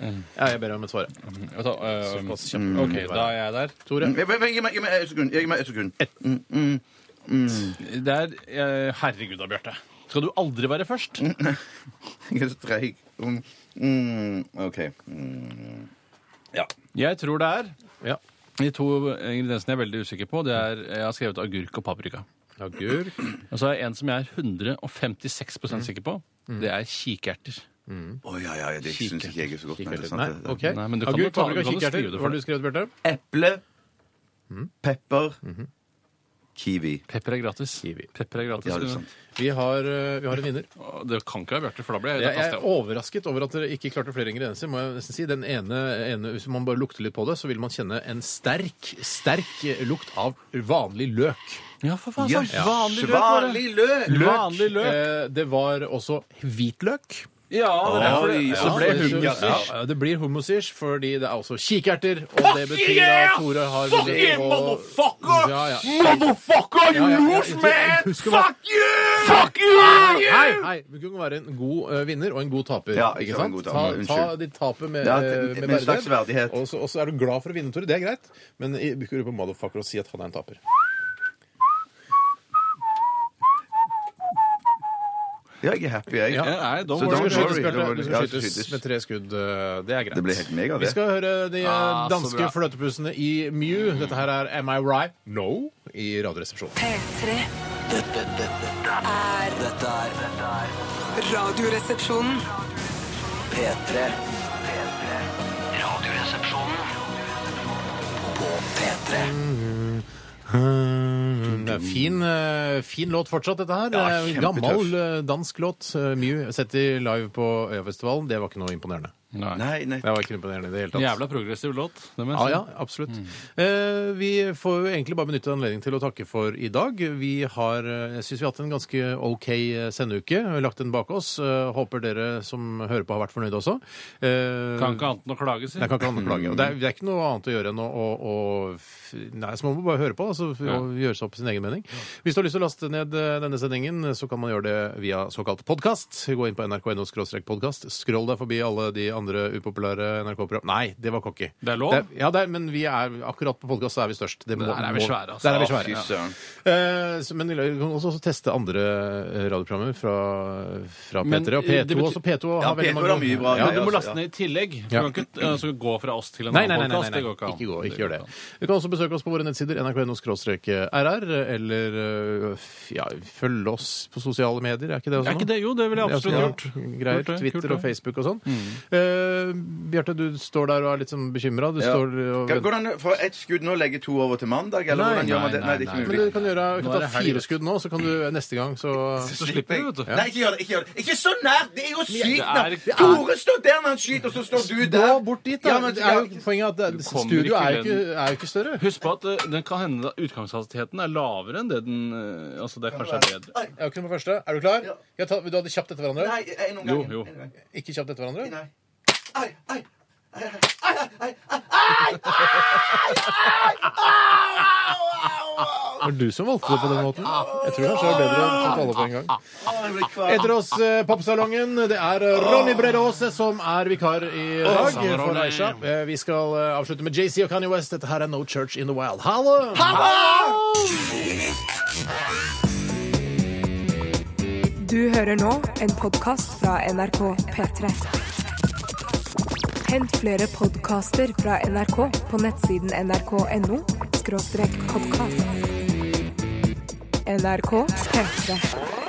Ja, jeg ber om et svar. jeg.
Jeg tar, eh,
Såpass kjapt.
OK, da er jeg der.
Tore,
Gi meg gi meg- gi meg et sekund. Gi meg et sekund.
Det er eh, Herregud da, Bjarte. Skal du aldri være først?
Mm.
Jeg er så treig. Mm, mm, OK. Mm.
Jeg tror det er
Ja.
De to ingrediensene jeg er veldig usikker på, det er Jeg har skrevet agurk og paprika.
agurk.
Og så er det en som jeg er 156 sikker på.
Mm.
Det er kikerter.
Å ja, ja, ja, det syns ikke jeg er så godt. Nei, det er
Nei,
sant, det.
OK.
Nei, men du kan jo
Agurk,
ta- du
paprika,
kan jo
kikerter.
skrive det
Hva
for
har du skrevet, Bjarte?
Eple, Mm. pepper, kiwi.
Pepper er gratis.
Kiwi.
Pepper er gratis.
Ja, det er sant.
Vi har, eh, vi har en vinner.
Å, det kan ikke være Bjarte, for da blir jeg,
Jeg
da
jeg
kaster
er
jeg opp.
overrasket over at dere ikke klarte flere ingredienser. må jeg nesten si. Den ene, ene, Hvis man bare lukter litt på det, så vil man kjenne en sterk sterk lukt av vanlig løk.
Ja, for faen,
Ja,
sant. Vanlig løk. var det.
Svarlig løk!
Vanlig løk.
Eh, Det var også hvitløk.
Ja, det er derfor det.
Oi,
Så
ja,
ble
det
hun
skjønner jeg.
gassers.
Ja, det blir hummusish, fordi det er også kikerter. Og det betyr at Tore har vunnet. Fuck you, motherfucker! Ja, ja. Motherfucker, you lose, man! Fuck you! Fuck you! Hei, hei. Du kunne være en god eh, vinner og en god taper.
Ja, ikke sant, en god taper.
Ta, ta
Unnskyld.
ditt tapet med,
Ja,
eh,
med
med,
en slags verdighet.
Og så- og så er du glad for å vinne, Tore. Det er greit. Men i- ikke rope motherfucker og si at han er en taper.
Ja, jeg er happy, jeg.
Ja.
Nei, da var
Du
Så da
det
skal
Don't
skytes,
worry,
Bjarte.
don't
Du
worry. Ja,
skal
det
skytes
skytes.
med tre skudd. eh, Det er greit.
Det ble helt mega,
Vi
det.
skal høre de eh,
Ah, så
danske
bra.
fløtepusene i Mew. Dette her er Am I Right? No i Radioresepsjonen.
P3.
Dette, dette, dette er Dette er dette er
Radioresepsjonen.
P3. P3. Radioresepsjonen. På P3.
Det er Mm, fin, eh, fin låt fortsatt, dette her.
Ja,
Eh,
kjempetøff.
Gammel eh, dansk låt. eh, Mew sett i live på Øyafestivalen. Det var ikke noe imponerende.
Nei.
Nei, nei.
Det var ikke imponerende i det hele tatt.
Jævla progressiv låt. Det må jeg
Ja,
si.
ja, absolutt. Eh, vi får jo egentlig bare benytte anledningen til å takke for i dag. Vi har, eh, jeg syns vi har hatt en ganske OK eh, sendeuke. Vi har Lagt den bak oss. Eh, håper dere som hører på, har vært fornøyde også. Eh,
Kan ikke annet enn å klage, si.
Nei, kan ikke annet enn å klage. Og det, er, det er ikke noe annet å gjøre enn å, å, å f- Nei, så man må bare høre på altså, f- og gjøre seg opp sin egen mening. Hvis du har lyst til å laste ned eh, denne sendingen, så kan man gjøre det via såkalt podkast. Gå inn på nrk.no podkast. Skroll deg forbi alle de andre upopulære NRK-program. Nei, det var cocky.
Det er lov?
ja, det er, men vi er, akkurat på podkast er vi størst. Det må,
Der er vi
må-
svære, altså.
Der er vi
Å,
svære.
fy søren.
Eh, så- men vi kan også, også teste andre eh, radioprogrammer fra, fra P3
Men,
og
eh,
P2.
det betyr-
Også P2 har
Ja,
veldig
P2
mange
har mye bra.
Ja,
Men du må
altså,
laste ned i tillegg. Du
Ja.
kan ikke eh, altså, gå fra oss til en
Nei, nei,
annen
nei, nei,
podkast.
nei.
Det går ikke an.
Ikke, gå, ikke gjør det. Du kan også besøke oss på våre nettsider nrk.no-rr, eller øh, f- ja, følge oss på sosiale medier. Er ikke det også
Er ikke det? Jo, det ville jeg absolutt
Ja,
gjort. Kult
Greier,
det,
Twitter
kult det. Mm.
og Facebook og sånn. Eh, Bjarte, du står der og er litt sånn bekymra. Du
Ja.
står og
Kan- Går det an fra ett skudd nå å legge to over til mandag? Eller
Nei,
hvordan gjør man det?
nei,
Nei, det er ikke
nei,
Men
mulig.
du kan gjøre
Nå er
du kan ta
det helg,
fire
vet
skudd nå, så kan du eh, neste gang så
Så slipper du, vet du.
Nei, ikke gjør det. Ikke gjør det. Ikke så nært! Det er jo sykt
er-
nært! Tore står der når han skyter, og så står du der!
Gå bort dit, da.
Ja, men,
det er jo, poenget er at det-
Du kommer
studio
ikke
er jo ikke,
inn.
er jo ikke større.
Husk på at eh, den kan hende at utgangshastigheten er lavere enn det den eh, Altså, det kanskje er bedre.
Nei,
Jeg har ikke noe på første. Er du klar? Jeg tar, vil du ha det kjapt etter hverandre?
Nei, en om
Jo,
gangen.
jo.
En om gangen.
Ikke kjapt etter hverandre?
Nei. Ai, ai.
Det var du som valgte det på den måten. Jeg tror kanskje det var bedre å fått alle på en gang. Etter oss eh, Pappsalongen. Det er eh, Ronny Brede Aase som er vikar i dag.
Samme
for
Ronny.
Aisha. Eh, Vi skal eh, avslutte med JC og Kanye West. Dette her er No Church in the Wild. Hallo!
Du hører nå en podkast fra NRK P3. Hent flere podkaster fra NRK på nettsiden nrk.no podkast. NRK P3.